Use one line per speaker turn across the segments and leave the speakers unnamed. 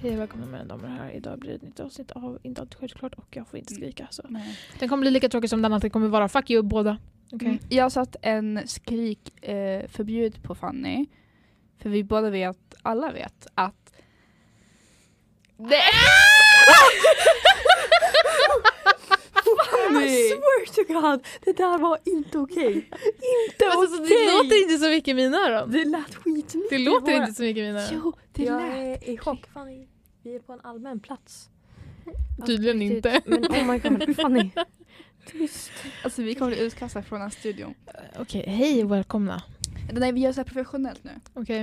Hej och välkomna mina damer och herrar. Idag blir det ett nytt avsnitt av Inte alltid självklart och jag får inte skrika. Så. Mm. Den kommer bli lika tråkig som den andra. Den kommer vara fuck you båda. Okej?
Mm. Jag satt en skrik eh, förbjud på Fanny. För vi båda vet, alla vet att... Det
I
Fanny!
swear to god, det där var inte okej. inte
Men alltså,
okej!
Det låter inte så mycket i mina öron.
Det lät skitmycket.
Det
i
låter
våra-
inte så mycket i mina öron.
Jo, det
Jag
lät.
är i chock.
Fanny, vi är på en allmän plats.
Tydligen inte.
Men oh my god, Fanny. Tyst.
Alltså vi kommer bli utkastade från den här studion.
Okej, hej och välkomna.
Nej vi gör så här professionellt nu.
Okej.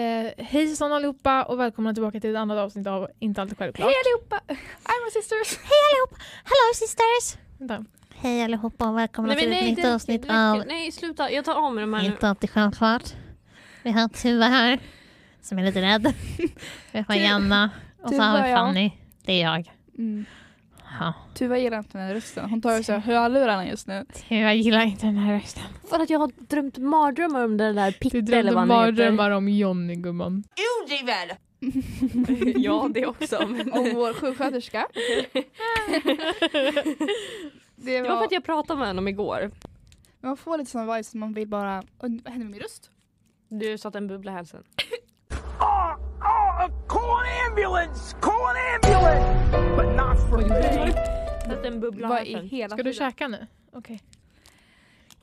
Eh, hej Susanne allihopa och välkomna tillbaka till ett annat avsnitt av Inte alltid självklart.
Hej allihopa! I'm a sisters!
Hello sisters!
Vänta.
Hej allihopa och välkomna till Alltså, ett nytt
det-
avsnitt
det räcker.
av
Nej, sluta. Jag tar av mig de här nu.
Inte alltid självklart. Vi har Tuva här, som är lite rädd. Vi har
Tu-
Janna och så
Tuva,
har vi
ja.
Fanny. Det är jag.
Mm.
Ja.
Tuva gillar inte den här rösten. Hon tar ju så här hörlurarna just nu.
Jag gillar inte den här rösten.
För att jag har drömt mardrömmar om den där Pitte
Du
eller
drömde
vad han heter.
mardrömmar om Johnny gumman.
ja, det också. Men...
Om vår sjuksköterska. Det
Det var för
var,
att jag pratade med honom igår.
man får lite sådana vibes som man vill bara... "Oj, Vad hände med min röst?
Du satte en bubbla i halsen.
Oh, oh, call an ambulance! Call an ambulance! But not for me.
Satte en bubbla i
Vad i
halsen.
hela
Ska du
friden?
käka nu? Okej.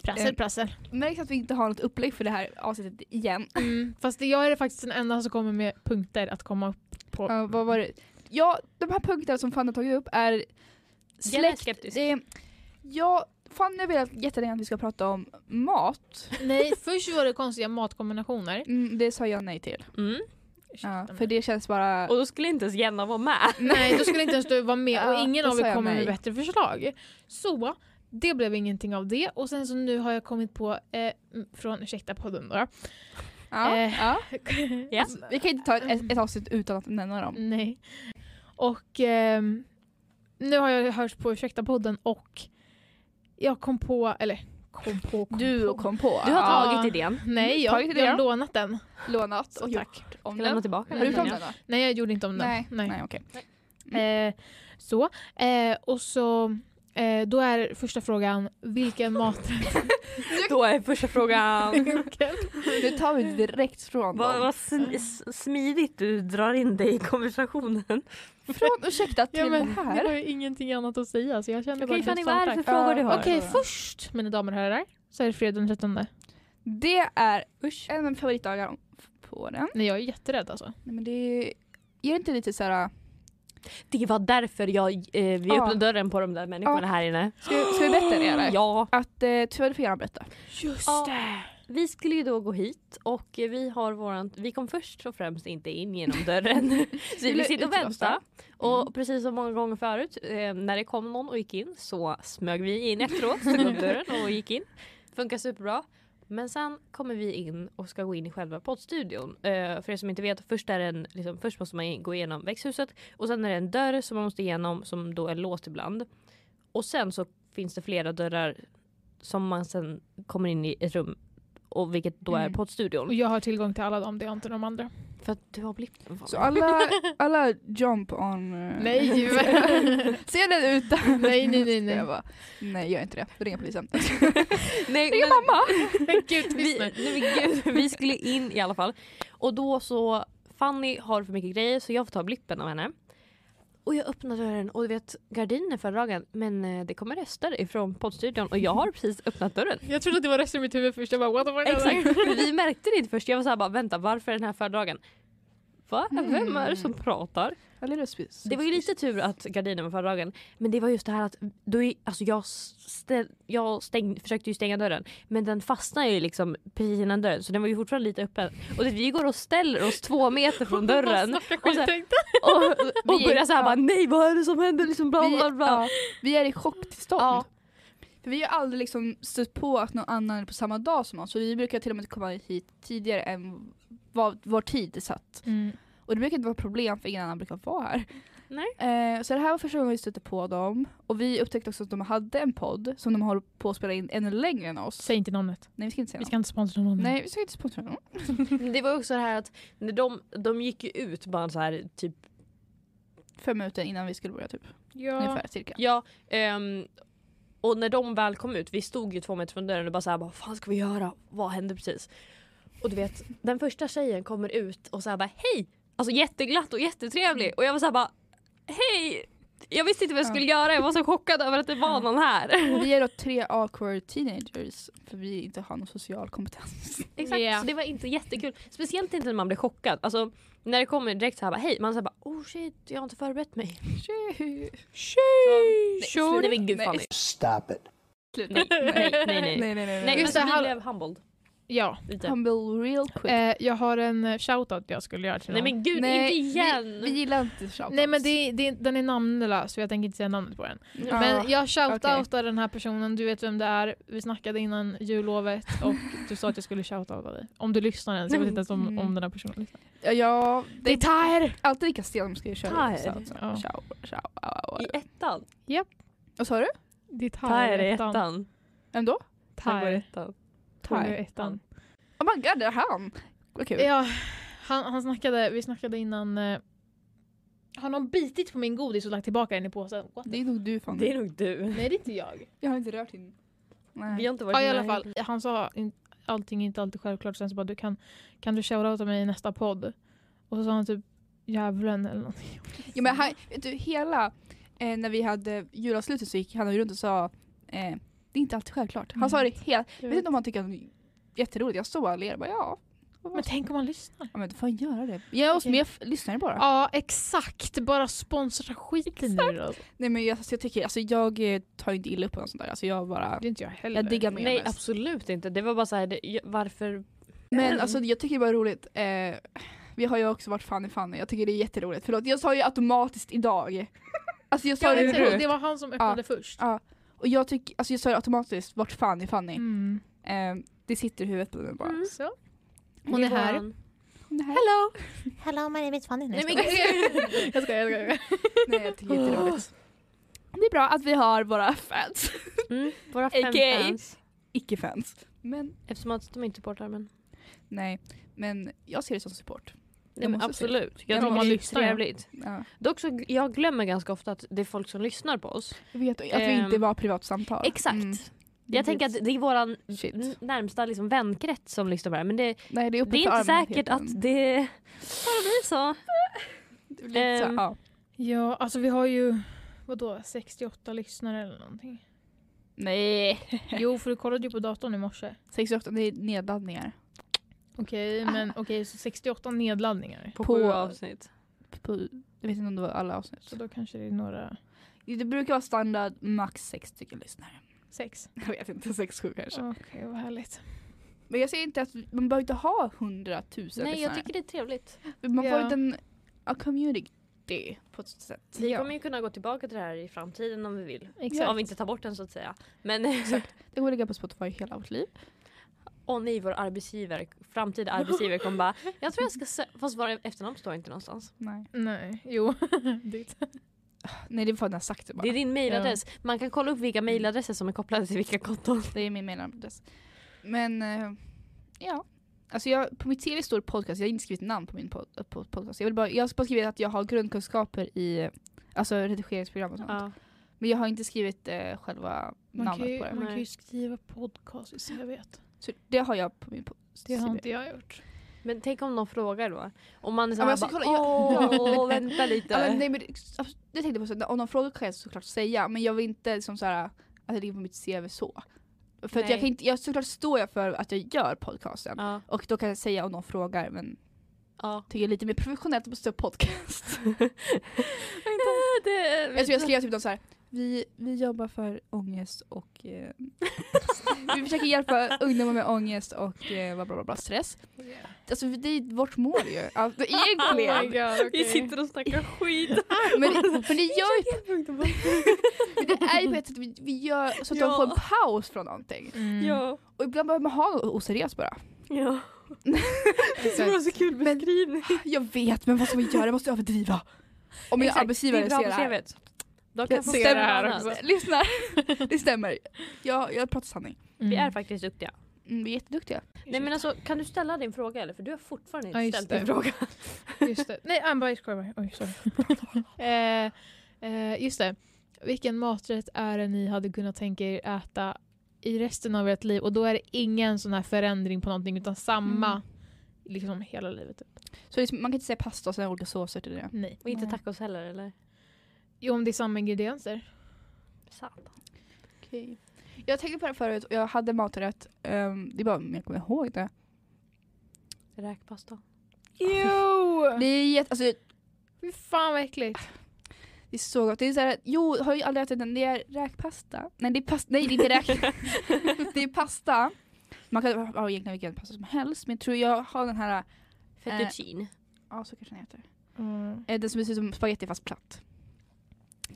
Eh,
Prassel, prassel.
Märks att vi inte har något upplägg för det här avsnittet igen.
Mm, fast jag är faktiskt den enda som kommer med punkter att komma upp på.
Ja, vad var det? Ja, de här punkterna som Fanny har tagit upp är
Jag är skeptisk.
Det är, ja, Fanny har velat jättelänge att vi ska prata om mat.
Nej, först var det konstiga matkombinationer.
Mm, det sa jag nej till.
Mm.
Ja,
Ursäkta
för
mig.
det känns bara...
Och då skulle inte ens Jenna vara med.
Nej, då skulle inte ens du vara med och
Ja,
ingen
då
av
sa
er
jag
kommer med
nej.
bättre förslag. Så det blev ingenting av det och sen så nu har jag kommit på eh, m- från ursäkta podden då.
ja,
eh,
ja.
Ja.
Vi kan inte ta ett, ett avsnitt utan att nämna dem.
Nej. Och ehm, nu har jag hört på ursäkta podden och jag kom på, eller kom på, kom
Du
på.
kom på.
Du har
ja,
tagit idén.
Nej, jag,
Tagit
jag
idén.
har lånat den.
lånat
Så
och
tack.
gjort om
Ska lämna
den.
tillbaka
Har du gjort om den
Jenna.
då?
Nej, jag gjorde inte om den.
Nej, nej okej.
Eh, så. Eh, och så, eh, då är första frågan, vilken maträtt?
Då är första frågan.
Nu tar vi direkt från
Vad,
dem.
vad sm- s- smidigt du drar in dig i konversationen.
Från ursäkta till
ja, men,
det
det
här.
var ju ingenting annat att säga så jag kände
Okej
bara
Fanny, vad är det för
tack.
frågor du har?
Okej,
Bara.
först mina damer och herrar så är det fredag den 13.
Det är en av mina favoritdagar om- på den.
Nej, jag är jätterädd alltså.
Nej, men det är, är det inte lite så här...
Det var därför jag, eh, vi
Ja.
öppnade dörren på de där människorna
Ja.
här inne.
Ska, ska vi berätta det eller?
Ja.
Att eh, tyvärr du får gärna berätta.
Just
det. Vi skulle ju då gå hit och eh, vi har våran, vi kom först och främst inte in genom dörren. så vi
blev
sitter och
utlåsta.
väntar. Och precis som många gånger förut, eh, när det kom någon och gick in så smög vi in efteråt, slog upp dörren och gick in. Funkar superbra. Men sen kommer vi in och ska gå in i själva poddstudion. Eh, för er som inte vet, först, är det en, liksom, först måste man in- gå igenom växthuset och sen är det en dörr som man måste igenom som då är låst ibland. Och sen så finns det flera dörrar som man sen kommer in i ett rum och vilket då är
Mm.
Och
poddstudion.
jag har tillgång till alla dem, det har inte de andra.
För att du har blippen.
Så alla, alla jump on... eh,
Nej,
Ser den utan?
Nej, nej, nej, nej.
Jag bara, nej gör inte det. Då ringer polisen.
Nej,
Ring
men-
mamma!
men gud
vi,
vi...
nej, men gud, vi skulle in i alla fall. Och då så, Fanny har för mycket grejer så jag får ta blippen av henne. Och jag öppnar dörren och du vet gardinen förra dagen men eh, det kommer röster ifrån poddstudion och jag har precis öppnat dörren.
Jag trodde att det var resten av mitt huvud först, jag bara what the fuck. alltså.
Exakt, för vi märkte det inte först. Jag var såhär bara vänta varför är den här föredragen? Va?
Mm.
Vem är det som pratar?
Eller röstvis.
Det var ju lite tur att gardinen var fördragen. Men det var just det här att då är, alltså jag, stä, jag stäng, försökte ju stänga dörren men den fastnade ju liksom precis innan dörren så den var ju fortfarande lite öppen. Och det, vi går och ställer oss två meter från dörren
Snacka
Och så-
skit, tänkte
och, och
Vi-
börjar såhär
ja.
bara nej vad är det som händer? Liksom bla
vi,
bla bla.
ja, vi är i chocktillstånd.
Ja.
För vi har aldrig liksom stött på att någon annan är på samma dag som oss. Så vi brukar till och med komma hit tidigare än vad vår tid är satt.
jag. Mm.
Och Och det brukar inte vara ett problem för ingen annan brukar vara här.
Nej.
Eh, så det här var första gången vi stötte på dem. Och vi upptäckte också att de hade en podd som de håller på att spela in ännu längre än oss.
Säg inte namnet.
Nej vi ska inte säga
Vi ska inte sponsra någon.
mm.
något. Nej vi ska inte sponsra någon.
Det var ju också det här att när de, de gick ju ut bara så här typ
Fem minuter innan vi skulle börja typ.
Ja.
Ungefär cirka.
Ja, ehm, och när de väl kom ut, vi stod ju två meter från dörren och bara såhär, vad fan ska vi göra? Vad hände precis? Och du vet, den första tjejen kommer ut och såhär bara, hej! Alltså jätteglatt och jättetrevlig och jag var såhär bara, hej! Jag visste inte vad jag skulle göra, jag var så chockad över att det var någon här.
Och vi är då tre awkward teenagers för vi inte har någon social kompetens.
Exakt,
Ja.
så det var inte jättekul. Speciellt inte när man blir chockad. Alltså när det kommer direkt såhär bara, hej, man såhär bara, oh shit, jag har inte förberett mig.
Sure.
Nej, men gud
Nej.
Fanny.
Stop it.
Slut.
Nej, nej,
nej,
nej, nej.
nej, nej.
Nej, men
Just
så
det,
vi
hall-
blev humbled
ja.
lite.
Humble real quick.
Eh, jag har en eh, shoutout jag skulle göra till
Nej
någon.
men gud,
Nej,
inte igen!
Vi, vi gillar inte shoutouts.
Nej men det, det, den är namnlös så jag tänker inte säga namnet på den.
Ja.
Men jag shoutoutar
Ah, okej.
den här personen, du vet vem det är. Vi snackade innan jullovet och du sa att jag skulle shoutouta dig. Om du lyssnar ens, jag vet inte ens om,
Mm.
om den här personen lyssnar.
Ja, ja, det
Det är Tahir!
alltid lika stelt om man ska köra
Tyre.
shoutouts.
Ja.
Shout,
I
shout.
ettan?
Vad sa du?
Det är Tahir
Tyre
i
i
ettan.
ettan.
Vem då?
Tyre i
Tahir.
ettan.
Tore i
Tyre.
ettan.
Oh my god, det är han! Vad kul.
Ja, han, han snackade, vi snackade innan. Eh, har någon bitit på min godis och lagt tillbaka den i påsen? What?
Det är nog du Fanny.
Det är nog du.
Nej det är inte jag.
Jag har inte rört din.
Vi
Nej.
har inte varit
Ja i alla
närheten.
fall, han sa in, allting är inte alltid självklart. Sen så bara du kan, kan du shoutouta mig i nästa podd? Och så sa han typ djävulen eller någonting.
Ja, men han, vet du, hela eh, när vi hade julavslutet så gick han runt och sa eh, det är inte alltid självklart. Han sa det helt, jag vet inte om han tycker att det är jätteroligt. Jag står bara och ler bara ja.
Men tänk om man lyssnar?
Ja men då får han göra det. Ge oss
Okej.
mer f- lyssnare bara.
Ja exakt, bara sponsra skiten nu då.
Nej men jag, alltså, jag tycker, alltså jag eh, tar inte illa upp på något sånt där. Alltså jag bara,
Det är inte jag heller.
jag diggar med
Nej
mest.
absolut inte. Det var bara så här, det, jag- varför? Mm.
Men alltså jag tycker det är bara roligt. Eh, vi har ju också varit Fanny Fanny. Jag tycker det är jätteroligt. Förlåt, jag sa ju automatiskt idag. Alltså jag sa
Ja,
det
exakt, det
runt.
var han som öppnade först.
Ja. Och jag tycker, alltså jag sa det automatiskt, vart Fanny Fanny.
Mm.
Eh, det sitter i huvudet på mig bara.
Mm.
Så.
Det
är här.
våran-
Det här-
Hello!
Hello, my name is Fanny.
Nej men gud. jag skojar, jag skojar.
Nej jag tycker det är jätteroligt. Det är bra att vi har våra fans.
Mm, våra fem
AKA.
fans.
Icke-fans. Men
Eftersom att de inte supportar men.
nej, men jag ser det som support.
Nej, men
måste
absolut.
Ja,
Jag
om
tycker
man
det är
lyssnar, ja.
trevligt.
Ja.
Dock så, jag glömmer ganska ofta att det är folk som lyssnar på oss.
Jag vet att vi
Ehm,
inte var privatsamtal.
Exakt.
Mm.
Jag tänker att det är våran
Shit.
n- närmsta liksom vänkrets som lyssnar på det här. Men det,
Nej, det är, uppe
det är
för
inte säkert
allmänheten.
att det bara blir så.
Det blir lite så här,
Ehm,
ja.
Ja, alltså vi har ju vadå, 68 lyssnare eller någonting.
Nej.
Jo, för du kollade ju på datorn i morse.
68, det är nedladdningar.
Okej, men okej, så 68 nedladdningar.
På,
På-
sju avsnitt.
På, jag vet inte om det var alla avsnitt.
Så då kanske det är några
Det brukar vara standard max sex stycken lyssnare.
sex.
Jag vet inte, sex, sju kanske.
Okej, vad härligt.
Men jag säger inte att man behöver inte ha hundratusen
Nej jag
lyssnare.
tycker det är trevligt.
Man får
Ja.
en liten a community på ett sätt.
Vi
Ja.
kommer ju kunna gå tillbaka till det här i framtiden om vi vill.
Exakt.
Om vi inte tar bort den så att säga. Men
Det går att ligga på Spotify hela vårt liv.
åh nej, vår arbetsgivare, framtida arbetsgivare kommer bara Jag tror jag ska sö- Fast våra efternamn står inte någonstans.
Nej,
Nej, jo. Ditt.
Nej det är för att jag har sagt det bara.
Det är din mailadress. Man kan kolla upp vilka mailadresser som är kopplade till vilka konton.
Det är min mailadress. Men eh, ja. Alltså jag, på mitt CV står podcast, jag har inte skrivit namn på min pod, på podcast. Jag, vill bara, jag har bara skrivit att jag har grundkunskaper i eh, alltså redigeringsprogram och sånt.
Ja.
Men jag har inte skrivit eh, själva
Man kan,
namnet
ju,
på det.
man kan ju
Nej.
skriva podcast i CVt.
Så det har jag på min po-
Det har
CV.
inte jag gjort.
Men tänk om någon frågar då. Om man är
Ja, men
såhär
jag ska
bara,
kolla- jag-
åh vänta lite.
Ja, men, nej, men, det abs- det tänkte jag på, så, att om någon frågar kan jag såklart säga men jag vill inte liksom, så här, att det ligger på mitt CV så. För att
Nej.
jag kan inte, jag, såklart står jag för att jag gör podcasten.
Ja,
Och då kan jag säga om någon frågar men
ja.
tycker det är lite mer professionellt att stå podcast.
Ja, det,
Alltså jag skrev typ något så här. Vi, vi jobbar för ångest och eh, vi försöker hjälpa ungdomar med ångest och eh, bla, bla, bla, bla, stress. Alltså det är vårt mål ju. Alltså,
Oh my
egentligen.
god, okej.
vi sitter och snackar skit.
men, men det gör ju men det är ju på ett sätt att vi, vi gör så att
Ja.
de får en paus från någonting.
Mm.
Ja.
Och ibland behöver man ha något oseriöst bara.
ja. Det var så kul beskrivning.
Jag vet, men vad ska man göra? Jag måste överdriva. Om min
Exakt, det
arbetsgivare
är bra
ser det
på
här.
CV:t. De kan
Jag
få
ser
se
det
här
annat.
också.
Lyssna, det stämmer. Jag, jag pratar sanning.
Vi är faktiskt duktiga.
Mm, vi är jätteduktiga.
Nej men alltså, kan du ställa din fråga eller? För du har fortfarande inte
Ja, just
ställt
det.
din fråga.
Just det. Nej, en bajskorv. Oj, sorry. eh, eh, just det. Vilken maträtt är det ni hade kunnat tänka er äta i resten av ert liv? Och då är det ingen sån här förändring på någonting utan samma
Mm.
liksom hela livet. Typ.
Så liksom, man kan inte säga pasta och sen olika såser till det.
Nej.
Och inte
Nej.
tacos heller eller?
Jo, om det är samma ingredienser.
Satan.
Okej. Jag tänkte på det förut och jag hade maträtt. Um, det är bara om jag kommer ihåg det.
Räkpasta.
Jo!
Det är jätte, alltså,
Fy fan vad äckligt.
det är så gott. Det är så här, jo, har ju aldrig ätit den. Det är räkpasta. Nej, det är pasta. Nej, det är inte räk. det är pasta. Man kan ha ha egentligen vilken pasta som helst. Men jag tror jag har den här, Eh,
Fettuccine.
ja så kanske den heter.
Mm.
Eh, Den som ser ut som spagetti fast platt.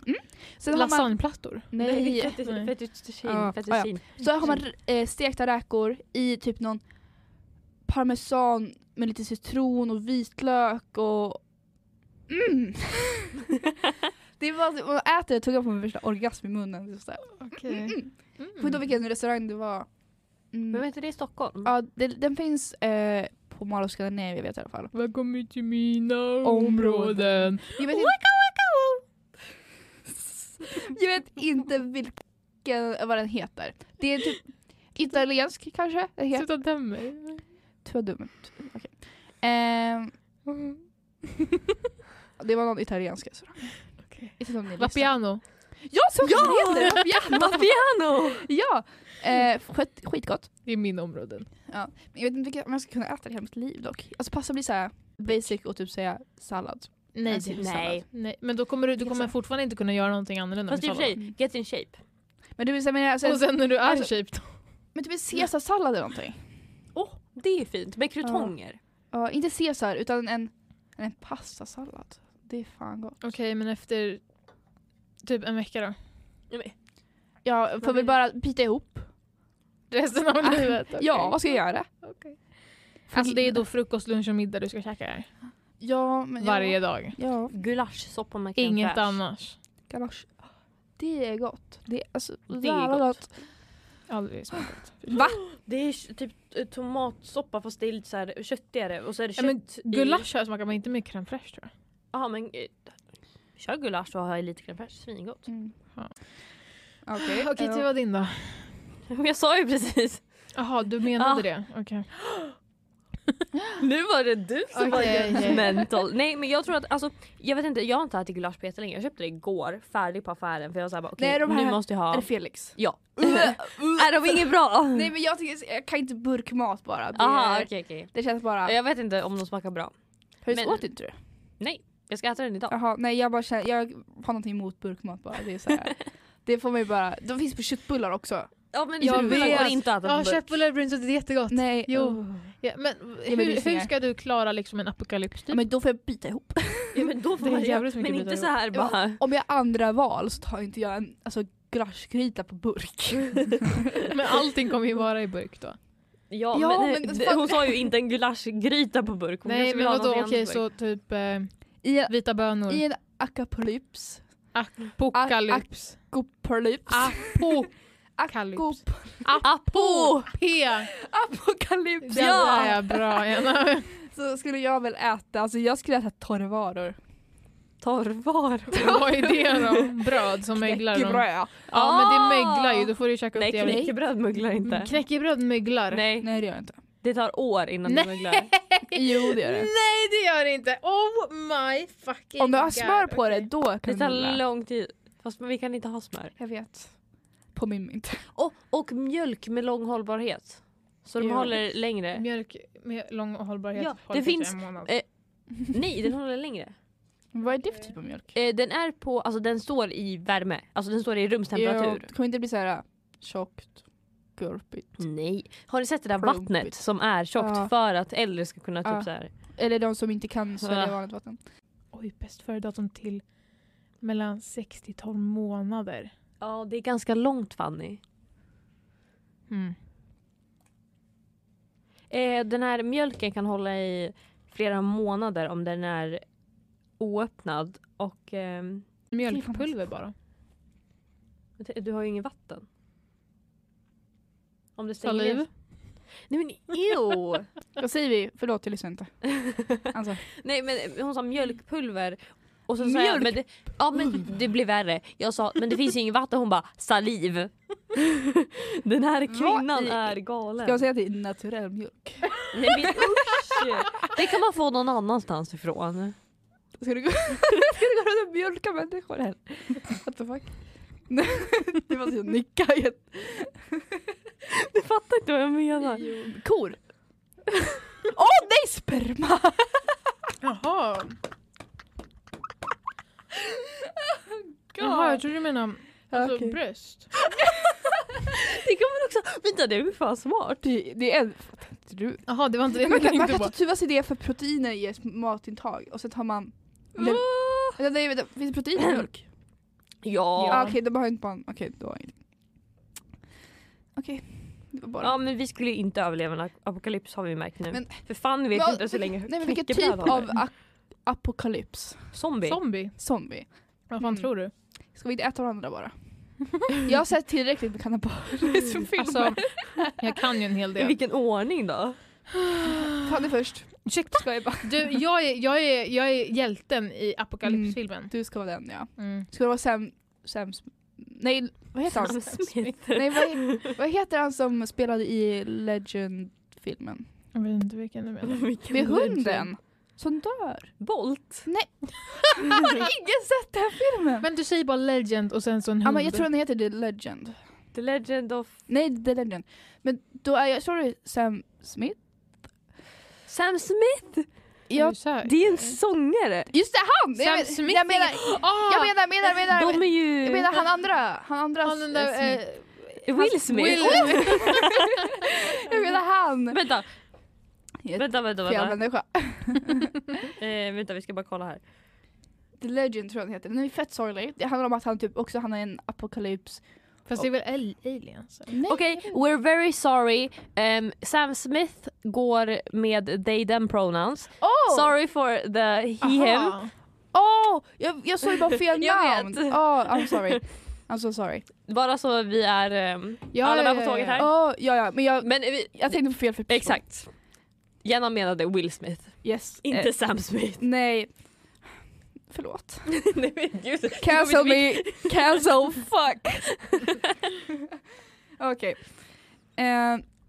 Mm. Sen har man,
Lasagneplattor.
nej,
Nej.
Fettuccine. Fettuccine.
Ja.
Fettuccine.
Så har man eh, stekta räkor i typ någon parmesan med lite citron och vitlök och... Mm. det var så, man äter det tog jag på min första orgasm i munnen. Just där.
Okej. Mm.
Kommer inte ihåg vilken restaurang det var.
Men
Mm.
vet du det är i Stockholm?
Ja, det, den finns eh, på Mall of Scandinavia vet jag i alla fall.
Välkommen till mina
områden. Jag vet, inte, jag vet inte vilken, vad den heter. Det är typ italiensk kanske? Den heter.
Sluta döm mig.
Det var dumt. Okej. Ehm,
Mm.
det var någon italiensk restaurang.
Okej.
Inte som ni
La
lyssnar.
Piano.
Ja, så ja! det heter! Vapiano!
Vapiano!
ja! Eh, skit, skitgott.
Det är min områden.
Men Jag vet inte vilka, om jag ska kunna äta det hela mitt liv dock. Alltså pasta blir såhär basic och typ säga sallad.
Nej,
Alltså,
Nej.
Nej, men då kommer du, du
Jag
kommer
sa-
fortfarande inte kunna göra någonting annorlunda
Fast i och
med
för sig, get in shape.
Men du vill säga, men, alltså,
Och sen när du är
Alltså-
shaped.
men typ en caesarsallad eller någonting.
Åh, oh, det är fint. Med krutonger.
Ja, inte caesar utan en, en pastasallad. Det är fan gott.
Okej, men efter typ en vecka då?
Ja, får väl bara bita ihop.
Resten av livet? okej.
Ja, vad ska jag göra?
Okej. Alltså det är då frukost, lunch och middag du ska käka här.
Ja, men ja.
Varje dag.
Ja,
Gulaschsoppa med crème
Inget
fraîche.
annars.
galosch. Det är gott. Det är, alltså,
Det är
jävla
gott.
Aldrig smakat.
Va?
Det är typ eh, tomatsoppa fast det är lite så här köttigare och så är det
Ja,
kött
men
i.
Gulasch här smakar man inte med crème fraîche tror jag.
Ja men eh, kör gulasch och ha i lite crème fraîche, svingott.
Mm.
Ja.
Okej,
Okej, typ-
ja.
det var din då.
Jag sa ju precis.
Jaha, du menade det? Okej.
Nu var det du som var
Okej, okej.
mental. Nej men jag tror att alltså, jag vet inte, jag har inte ätit gulasch på jättelänge. Jag köpte det igår, färdig på affären för jag sa bara okej
Nej, de här-
nu måste jag
Är
ha.
det Felix?
Ja. är de inget bra?
Nej men jag, tycker, jag kan inte burkmat bara. Det,
Aha, okej okej.
det känns bara...
Jag vet inte om de smakar bra.
Har du
men-
åt inte du?
Jag ska äta den idag.
Jaha, nej jag bara känner, jag har någonting emot burkmat bara. Det är så här. det får mig bara, de finns på köttbullar också.
Ja men
Jag
jag
vet.
går inte att äta
Ja,
på burk.
köttbullar och brunsås, det är jättegott.
Nej,
Jo. typ.
uh.
Oh. Ja, men
men det är
hur, hur
snyggt.
ska du klara liksom en apokalyps?
ja,
Typ?
men då får jag bita ihop.
Ja, men då får
Det är
man göra,
jävligt mycket
men inte
bitar
så här
ihop.
bara.
Om jag har andra val så tar inte jag en alltså, gulaschgryta på burk.
Men, allting kommer ju vara i burk då.
Ja,
Ja,
men,
men
d-
fan-
hon sa ju inte en gulaschgryta på burk. Hon
Nej
kanske
men
vill ha
vadå,
någonting
okej
annat på burk.
så typ eh,
I, en-
vita bönor.
I en akapolyps.
Apokalyps.
Gopolyps.
Apokalyps.
Akop-
Apo! P!
Apokalyps.
Ja! är bra. Jana.
Så skulle jag väl äta, alltså jag skulle äta torrvaror.
Torrvaror.
Vad är det då? Bröd som möglar? dem.
Knäckebröd.
Ja men det möglar ju,
Ah!
då får du ju käka upp
Nej
det. jävligt.
knäckebröd möglar inte.
Knäckebröd möglar.
Nej,
Nej det gör jag inte.
det tar år innan det
Nej.
möglar.
Jo det gör det.
Nej det gör det inte! Oh my fucking
Om du har smör på
okej.
det då kan
Det
du
tar
mulla.
lång tid. Fast vi kan inte ha smör.
Jag vet. På min mynt.
Och, och mjölk med lång hållbarhet. Så de
Jo.
håller längre.
Mjölk med lång hållbarhet
Ja,
håller
det
kanske
finns-
en månad.
eh, Nej, den håller längre.
Vad är det för typ av mjölk?
Eh, den är på, alltså den står i värme. Alltså den står i rumstemperatur.
Jo, kommer inte bli så här äh, tjockt, gurpigt.
Mm.
Nej. Har ni sett det där
Klumpigt.
vattnet som är tjockt
Ja.
för att äldre ska kunna typ
Ja.
så här.
Eller de som inte kan svälja
Ah.
vanligt vatten.
Oj, bäst före-datum till mellan 6 till 12 månader.
Ja, det är Mm. ganska långt Fanny. Eh, den här mjölken kan hålla i flera månader om den är oöppnad och ehm,
Mjölkpulver bara.
du har ju inget vatten. Om det stänger
Saliv.
ner- Nej men ew!
Vad säger vi? Förlåt, jag lyssnar inte. Alltså,
Nej men hon sa mjölkpulver. Och så sa jag, men det, ja men det blir värre. Jag sa men det finns ju inget vatten, hon bara saliv. Den här kvinnan
i-
är
ska jag
galen.
säga att det är naturell mjölk?
Nej, men, usch. Det kan man få någon annanstans ifrån.
Ska du gå, ska du gå runt och mjölka människor här? What the fuck? Nej, det var så jag nickade. jätte-
Du fattar inte vad jag menar.
Kor! Åh oh, nej, sperma!
Jaha. Jaha, jag trodde du menade alltså,
Okej.
bröst.
Det kan man också, vänta det är ju fan smart.
Det, det är en... fattar inte Du.
Jaha, det var inte det
Man
jag
kan, man
tänkte
kan
på.
tuvas idé för proteiner i ett matintag och så tar man... Lev- Eller, nej, vänta, finns det protein i mjölk?
Ja.
Ah, Okej, då behöver jag inte bara... Okej, då har jag inte... Okej, det var bara...
Ja men vi skulle ju inte överleva en apokalyps har vi märkt nu.
Men-
För fan vet
Men-
inte så länge
Nej men vilken typ av
knäckebröd håller.
a- apokalyps?
Zombie.
Zombie?
Zombie?
Vad fan
Mm.
tror du?
Ska vi inte äta varandra bara? jag har sett tillräckligt med kannibalfilmer.
Alltså, jag kan ju en hel
I
del.
vilken ordning då?
Fanny först.
Ursäkta?
Ska jag bara.
Du, jag är, jag är, jag är hjälten i Apokalypsfilmen.
Du ska vara den ja.
Mm.
Ska det vara Sam... Sam... Sm- Nej, vad heter han?
Sam Smith.
Nej, vad, vad heter han som spelade i Legend-filmen?
Jag vet inte vilken du menar.
Det är hunden som dör.
Bolt.
Har ingen sett den filmen?
Men du säger bara legend och sen så en
ja,
hund.
men jag tror den heter The Legend.
The Legend of
Nej, The Legend. Men då är jag... Tror du Sam Smith?
Sam Smith.
Är
Jag
du säker?
Det är en sångare.
Just det, han!
Sam
jag,
Smith
Jag menar,
är- Ah!
jag menar, menar, menar,
De är ju...
jag menar han andra. Han andra
Han den där...
Smith.
eh,
Will Smith.
Will.
jag menar han.
Vänta.
Jag-
Vänta, vänta,
Fel
vänta.
människa.
Eh, vänta, vi ska bara kolla här.
The Legend tror jag den heter. Den är fett sorglig. Det handlar om att han typ också hamnar i en apokalyps.
Fast det är väl al- aliens? eller?
Nej.
Okej, we're very sorry. Ehm, Sam Smith går med they them pronouns.
Oh!
Sorry for the he him.
Aha.
Oh! Jag, jag såg ju bara fel
Jag
namn.
vet.
Oh, I'm sorry. I'm so sorry.
Bara så vi är ehm,
Ja,
alla
ja,
med på
ja,
tåget
ja.
här.
Oh, ja, ja, men jag,
Men eh, vi,
jag tänkte på fel för person.
exakt. Jenna menade Will Smith,
Yes.
inte
Eh,
Sam Smith.
nej. Förlåt.
Nej, men gud.
Cancel me. Cancel fuck. Okej. Eh,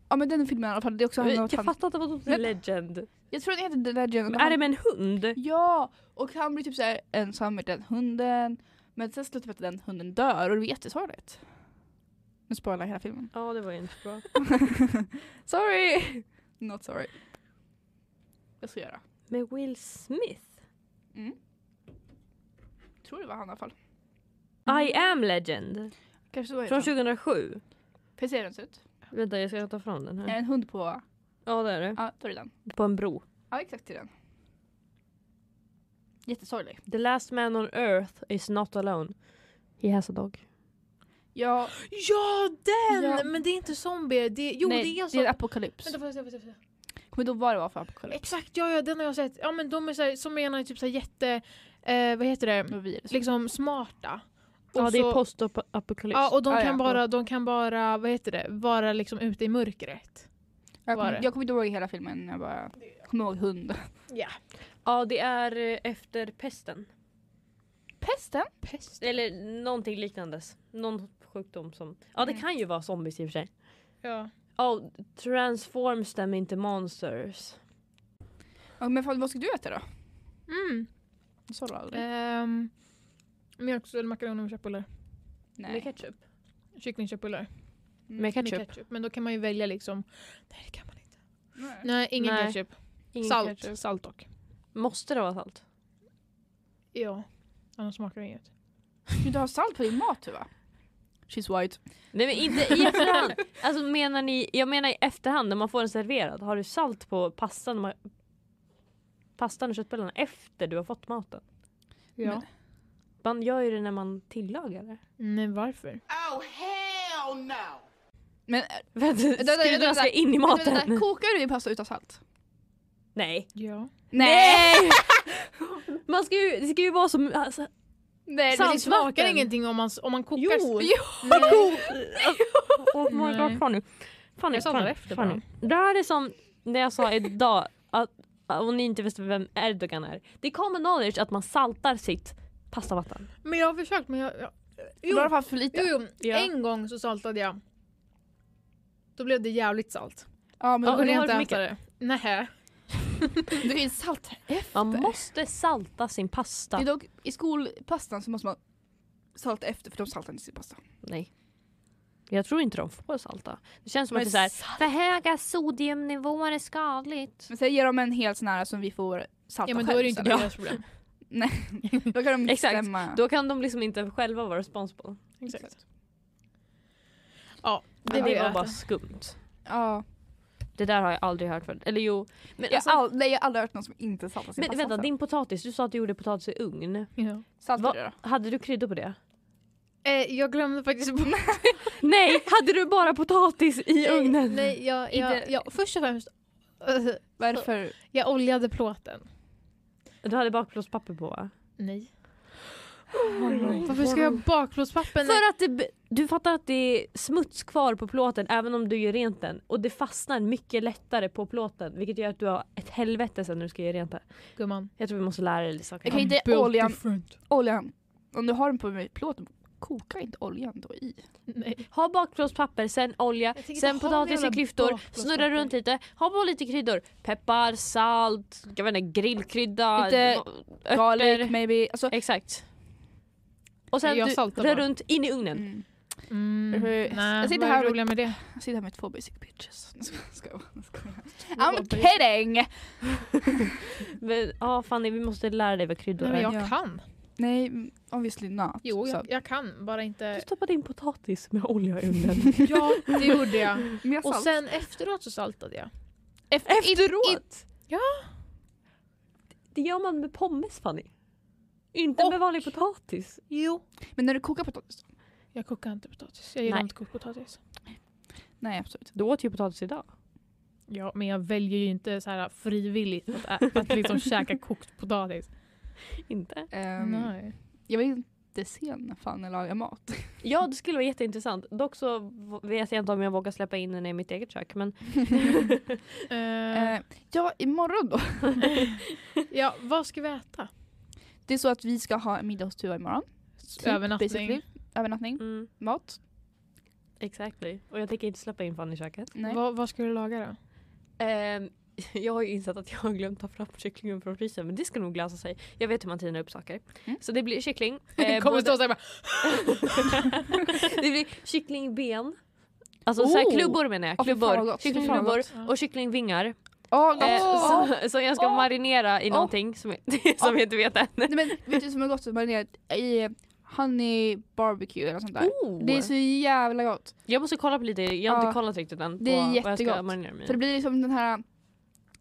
ja men den filmen i alla fall. Det är också handlar om
Jag
att han,
fattar inte vad de
Men-
säger. Legend.
jag tror den heter The Legend.
Men
och han-
är det med en hund?
Ja, och han blir typ såhär ensam med den hunden. Men sen slutar det med att den hunden dör och det blir jättesorgligt. Nu spoilar jag hela filmen.
Ja, det var ju inte bra.
sorry! Not sorry. Jag ska göra.
Med Will Smith?
Tror det var han i alla fall.
I am legend.
Kanske så
Från
heter han.
2007.
Hur ser den ut?
Vänta, jag ska ta fram den
Är det
här.
en hund på?
Ja, det är det.
Ja, då är det den.
På en bro.
Ja, exakt det är den. Jättesorglig.
The last man on earth is not alone. He has a dog.
Ja,
Ja, den!
Ja.
Men det är inte zombier. Det, jo,
nej,
det är så.
det är en apokalyps.
Vänta, får jag se, får jag se, får jag se.
Kommer du ihåg vad det var för apokalyps?
Exakt, ja, ja, den har jag sett. Ja, men de är så här, zombierna är typ så här jätte... Eh, vad heter det?
Med virus.
Liksom smarta.
Ja,
Och
det
så-
är postapokalyps.
Ja, och de
Ah,
kan,
ja.
Bara, de kan bara, vad heter det, vara liksom ute i mörkret.
Jag
var
kommer,
det?
jag kommer inte ihåg hela filmen, jag bara kommer ihåg hunden.
Ja, det är eh, efter pesten.
Pesten?
Pest.
Eller någonting liknandes. Någon sjukdom som... Ja, det
Mm.
kan ju vara zombies i och för sig.
Ja.
Ja, transforms them into monsters.
Ja, men fan, vad ska du äta då?
Mm.
Det sa du aldrig.
Ehm, mjölk eller makaroner med köttbullar.
Med ketchup.
Kycklingköttbullar.
Mm.
Med ketchup.
Med ketchup. Men då kan man ju välja liksom. Nej det kan man inte.
Nej.
Nej ingen
Nej.
ketchup.
Ingen
salt.
ketchup.
Salt dock.
Måste det vara salt?
Ja. Annars smakar det inget.
Men Du har salt på din mat Tuva. She's white.
Nej men inte i efterhand. Alltså menar ni, jag menar i efterhand när man får den serverad. Har du salt på pastan, och ma- pastan och köttbullarna efter du har fått maten?
Ja.
Man gör ju det när man tillagar det.
Nej varför?
Oh, hell no!
Men
För att
vänta,
skuldran ska
vänta.
in i
vänta, vänta,
maten.
kokar du din pasta utan salt?
Nej.
Ja.
Nej!
Man ska ju, det ska ju vara som... Alltså,
Nej,
Salt
smakar
smakar ingenting om man, om man kokar.
Jo.
Nej.
oh my
Nej.
god Fanny. Fanny,
Jag somnar
Fanny,
efter
Fanny. Det här är som när jag sa idag att att om ni inte visste vem Erdogan är. Det är common knowledge att man saltar sitt pastavatten.
Men jag har försökt men jag... jag
I
jo,
alla fall för lite.
jo, jo.
Ja.
En gång så saltade jag. Då blev det jävligt salt.
Ja, men
Då
Ja,
kunde
det
jag
var
inte
för
äta det. Nej.
det finns salt efter.
Man måste salta sin pasta.
Det är dock, I skolpastan så måste man salta efter för de saltar inte sin pasta.
Nej. Jag tror inte de får salta. Det känns som
Men
att det är så här, för höga sodiumnivåer är skadligt.
Men sen ger de en hel sån här som vi får salta
Ja men då
själv
är det inte
sen.
deras problem.
Då kan de inte
Exakt.
bestämma.
Då kan de liksom inte själva vara responsible.
Exakt. Ja,
Det,
det
det
vill
var
jag
bara
äta.
skumt.
Ja.
Det där har jag aldrig hört förut. Eller jo. Men,
Jag,
alltså,
har all, nej, jag har aldrig hört någon som inte saltar sin
men
pasta.
vänta, din potatis. Du sa att du gjorde potatis i ugn.
Ja.
Saltar
Va-
du då?
Hade du kryddor på det?
Eh, jag glömde faktiskt bort
Nej, hade du bara potatis i
Nej,
ugnen?
Nej, jag,
I
jag,
det-
jag, först och främst, eh,
Varför?
jag oljade plåten.
Du hade bakplåtspapper på va?
Nej. Varför ska jag ha bakplåtspapper? när-
För att det, b- du fattar att det är smuts kvar på plåten även om du gör rent den. Och det fastnar mycket lättare på plåten vilket gör att du har ett helvete sen när du ska göra rent det.
Gumman.
Jag tror vi måste lära dig lite saker.
Jag kan inte
Built
oljan.
different.
Oljan. Om du har den på med plåten, koka inte oljan då i.
Nej.
Ha bakplåtspapper, sen olja,
Jag tänker
sen
inte ha någon
potatis i
jävla
klyftor,
bakplåtspapper.
snurra runt lite, ha på lite kryddor. Peppar, salt, jag vet inte, grillkrydda,
Lite
örter.
Garlic maybe. Alltså,
Exakt. Och sen
Jag
du
saltar
rör
bara.
runt in i ugnen.
mm.
Mm,
Jag
nej,
sitter
vad
här
är
och-
det roliga med det?
Jag sitter här med två basic bitches. Nej, Ska jag bara- ska jag bara. I'm kidding!
Men ja Fanny vi måste lära dig vad kryddor
Nej, men
är.
jag
Ja.
kan.
Nej, mm, obviously not.
Jo,
Så-
jag, jag kan. Bara
Du
inte...
stoppade in potatis med olja i ugnen.
Ja, det gjorde jag.
Men jag
Och
salt.
sen efteråt så saltade jag.
efteråt?
Det gör man med pommes Fanny. Inte med vanlig potatis.
Jo.
Men när du kokar potatis?
Jag kokar inte potatis. Jag gillar
Nej.
inte kokt potatis.
Nej absolut.
Du åt ju potatis idag.
Ja, men jag väljer ju inte så här frivilligt att, ä- att liksom käka kokt potatis.
Inte?
Ehm,
Nej.
jag var inte sen när fan jag lagar mat.
Ja det skulle vara jätteintressant. Dock så v- vet jag inte om jag vågar släppa in henne i mitt eget kök. Men
Eh,
Eh, ja, imorgon då.
ja, vad ska vi äta?
Det är så att vi ska ha en middag hos Tuva imorgon. Typ,
Övernattning.
basically. Övernattning.
mm,
Mat.
exactly. Och jag tänker inte släppa in Fanny i köket.
Nej.
Vad, vad ska du laga då?
Ehm, jag har ju insett att jag har glömt ta fram kycklingen från frysen men det ska nog lösa sig. Jag vet hur man tinar upp saker.
Mm.
Så det blir kyckling.
Det
eh,
kommer
både-
stå såhär bara
det blir kycklingben. Alltså
Oh!
så här klubbor menar jag.
Åh, fy fan vad
Klubbor.
gott. Fy fan
Kycklingklubbor
vad gott.
och kycklingvingar.
Åh,
Eh,
gott.
som, som jag ska
Åh!
marinera i
Åh!
någonting som, som jag inte vet än.
Nej, men vet du som är gott? Marinerat i eh, honey barbecue eller något sånt där.
Oh! Mm.
Det är så jävla gott.
Jag måste kolla på lite, jag har
Ja.
inte kollat riktigt än. På
Det är
Vad jag ska
jättegott.
marinera mig
För det
i.
blir liksom den här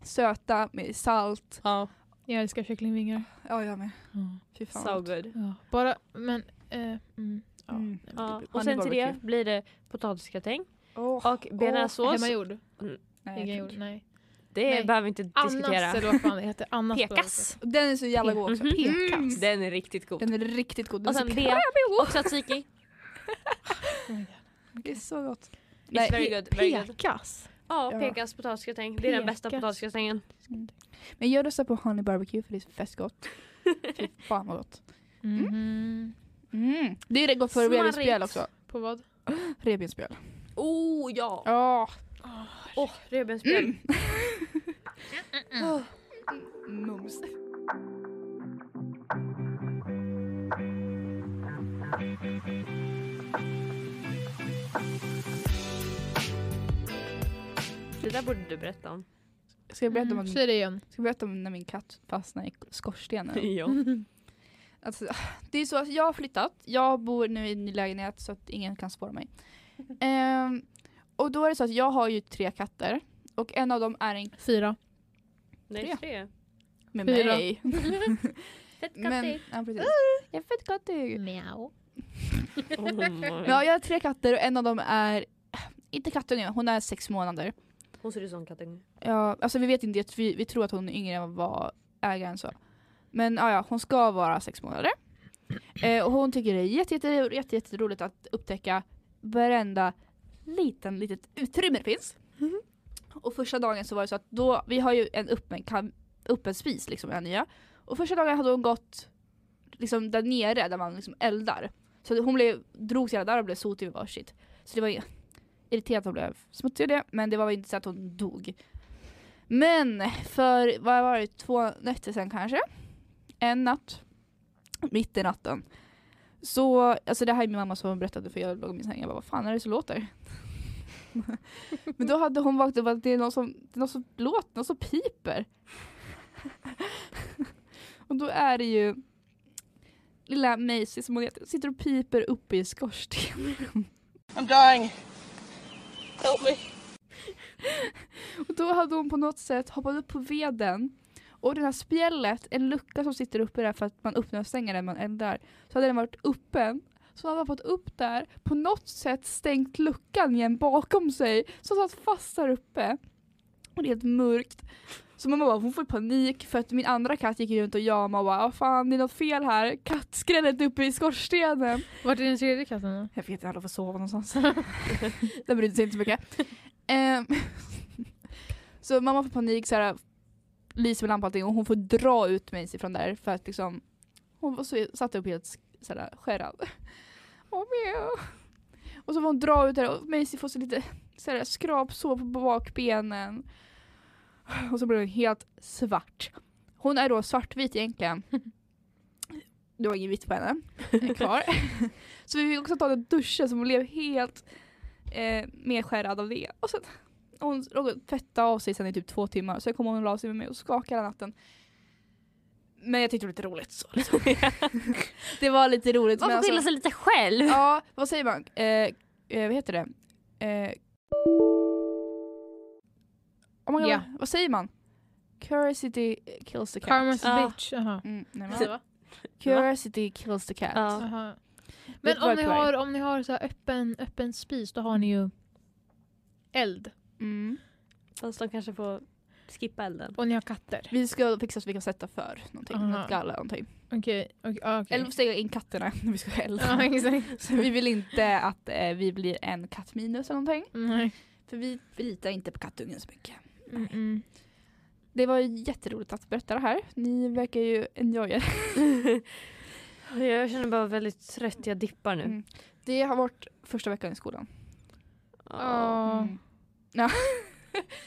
söta med salt.
Ja,
Jag älskar kycklingvingar.
Ja, jag med.
Ja.
Fy fan.
so
vad gott.
good.
Bara, men... Eh, mm, ja.
Mm.
Ja.
blir-
Och sen till det
barbecue.
blir det potatisgratäng
Åh,
och bearnaisesås.
Hemmagjord?
Eh, nej, jag
Egengjord?
kan inte.
Nej.
det
nej.
behöver vi inte diskutera.
Annas eller vad fan det heter. Annas
Pekas.
Den är så jävla god också.
Mhm.
Mm.
Pekas.
Den är riktigt god.
Den är riktigt god. Den
Och
är så
sen
pe-
B och tzatziki.
Det är så gott.
It's
Nej,
very
brödrost.
good. Very good.
Pekas?
Ja,
Ja.
Pekas potatisgratäng. Det är den bästa
Pekas.
potatisgratängen.
men jag röstar på honey barbecue för det är så fett gott. Fy fan vad gott.
Mhm.
Mm. Det är det gott för
Smarrigt.
revbensspjäl också.
På vad?
Revbensspjäl.
Oh ja!
Ja.
Åh, revbensspjäll.
Mm. Mums.
Det där borde du berätta om.
Ska jag berätta om,
Mm.
att-
Säg det igen.
ska jag berätta om när min katt fastnade i skorstenen?
Ja.
Alltså, det är så att jag har flyttat. Jag bor nu i en ny lägenhet så att ingen kan spåra mig. Ehm, och då är det så att jag har ju tre katter. Och en av dem är en
Fyra.
Nej,
Tre.
tre.
med
Fyra.
mig.
Fett
Men,
kattig.
ja, precis. Jag är fett kattig.
Miau.
Oh my.
Ja, jag har tre katter och en av dem är inte kattunge, hon är sex månader.
Hon ser ut som kattunge.
Ja, alltså vi vet inte, jag tror- vi, vi tror att hon är yngre än vad ägaren sa. Men ja, ja, hon ska vara sex månader. Eh, och hon tycker det är jätte, jätte, jätte, jätte roligt att upptäcka varenda liten litet utrymme det finns. Och första dagen så var det så att då, vi har ju en öppen, kam- öppen spis liksom, den nya. Och första dagen hade hon gått liksom där nere där man liksom eldar. Så hon blev, drog sig där och blev sotig vid varsitt. Så det var ju irriterat att hon blev smutsig och det, men det var väl inte så att hon dog. Men för, vad var det, två nätter sedan kanske? En natt. Mitt i natten. Så, alltså det här är min mamma som berättade för jag låg i min säng. Jag bara, vad fan är det som låter? Men då hade hon vaknat och bara, det är någon som, det är någon som låter, någon som piper. och då är det ju lilla Maisie som hon heter, sitter och piper uppe i skorstenen.
I'm dying. Help me.
Och då hade hon på något sätt hoppat upp på veden och det här spjället, en lucka som sitter uppe där för att man öppnar och stänger den man eldar, så hade den varit öppen. Så hade han hoppat upp där, på något sätt stängt luckan igen bakom sig, så han satt fast där uppe. Och det är helt mörkt. Så mamma bara, hon får panik för att min andra katt gick runt och jamade och bara, "Vad fan det är något fel här, kattskrället är uppe i skorstenen.
Vart är den tredje katten då?
Jag vet inte, alla får sova någonstans. Den brydde sig inte så mycket. Ehm, så mamma får panik, så här, lyser med lampan och allting, och hon får dra ut mig från där för att liksom hon var så, satt upp helt så här, skärrad. Åh, mjau. Och så får hon dra ut det här, och Maisie får så lite så här, skrapsår på bakbenen. Och så blir hon helt svart. Hon är då svartvit egentligen. Det var ingen vitt på henne kvar. Så vi fick också ta den duschen som hon blev helt eh, medskärrad av det. Och sen, hon låg och tvättade av sig sen i typ två timmar. Sen kom hon och la sig med mig och skakade hela natten. Men jag tyckte det var lite roligt. Så, liksom. det var lite roligt.
Man
men
får
alltså-
skylla sig lite själv.
Ja, vad säger man? Eh, eh, vad heter det? Eh, oh my God,
Ja.
Vad säger man? Curiosity kills the cat.
Karma's
Ja.
bitch. Aha.
Mm, nej, men-
Så, va?
Curiosity kills the cat.
Ja.
Aha.
Vet
Men
du vad
om ni
jag tror?
har, om ni har så här öppen, öppen spis då har ni ju eld.
Mm.
Fast de kanske får skippa elden.
Och ni har katter.
Vi ska fixa så vi kan sätta för någonting.
Aha.
Något galla någonting.
Okej. okej, ja, okej.
Eller stänga in katterna när vi ska elda.
Ja, exakt.
så vi vill inte att eh, vi blir en katt minus eller någonting.
Nej.
För vi, vi litar inte på kattungen så mycket.
Mm -mm.
Det var ju jätteroligt att berätta det här. Ni verkar ju enjoya det.
Jag känner bara väldigt trött, jag dippar nu.
Mm. Det har varit första veckan i skolan.
Ja.
Ja.
Mm.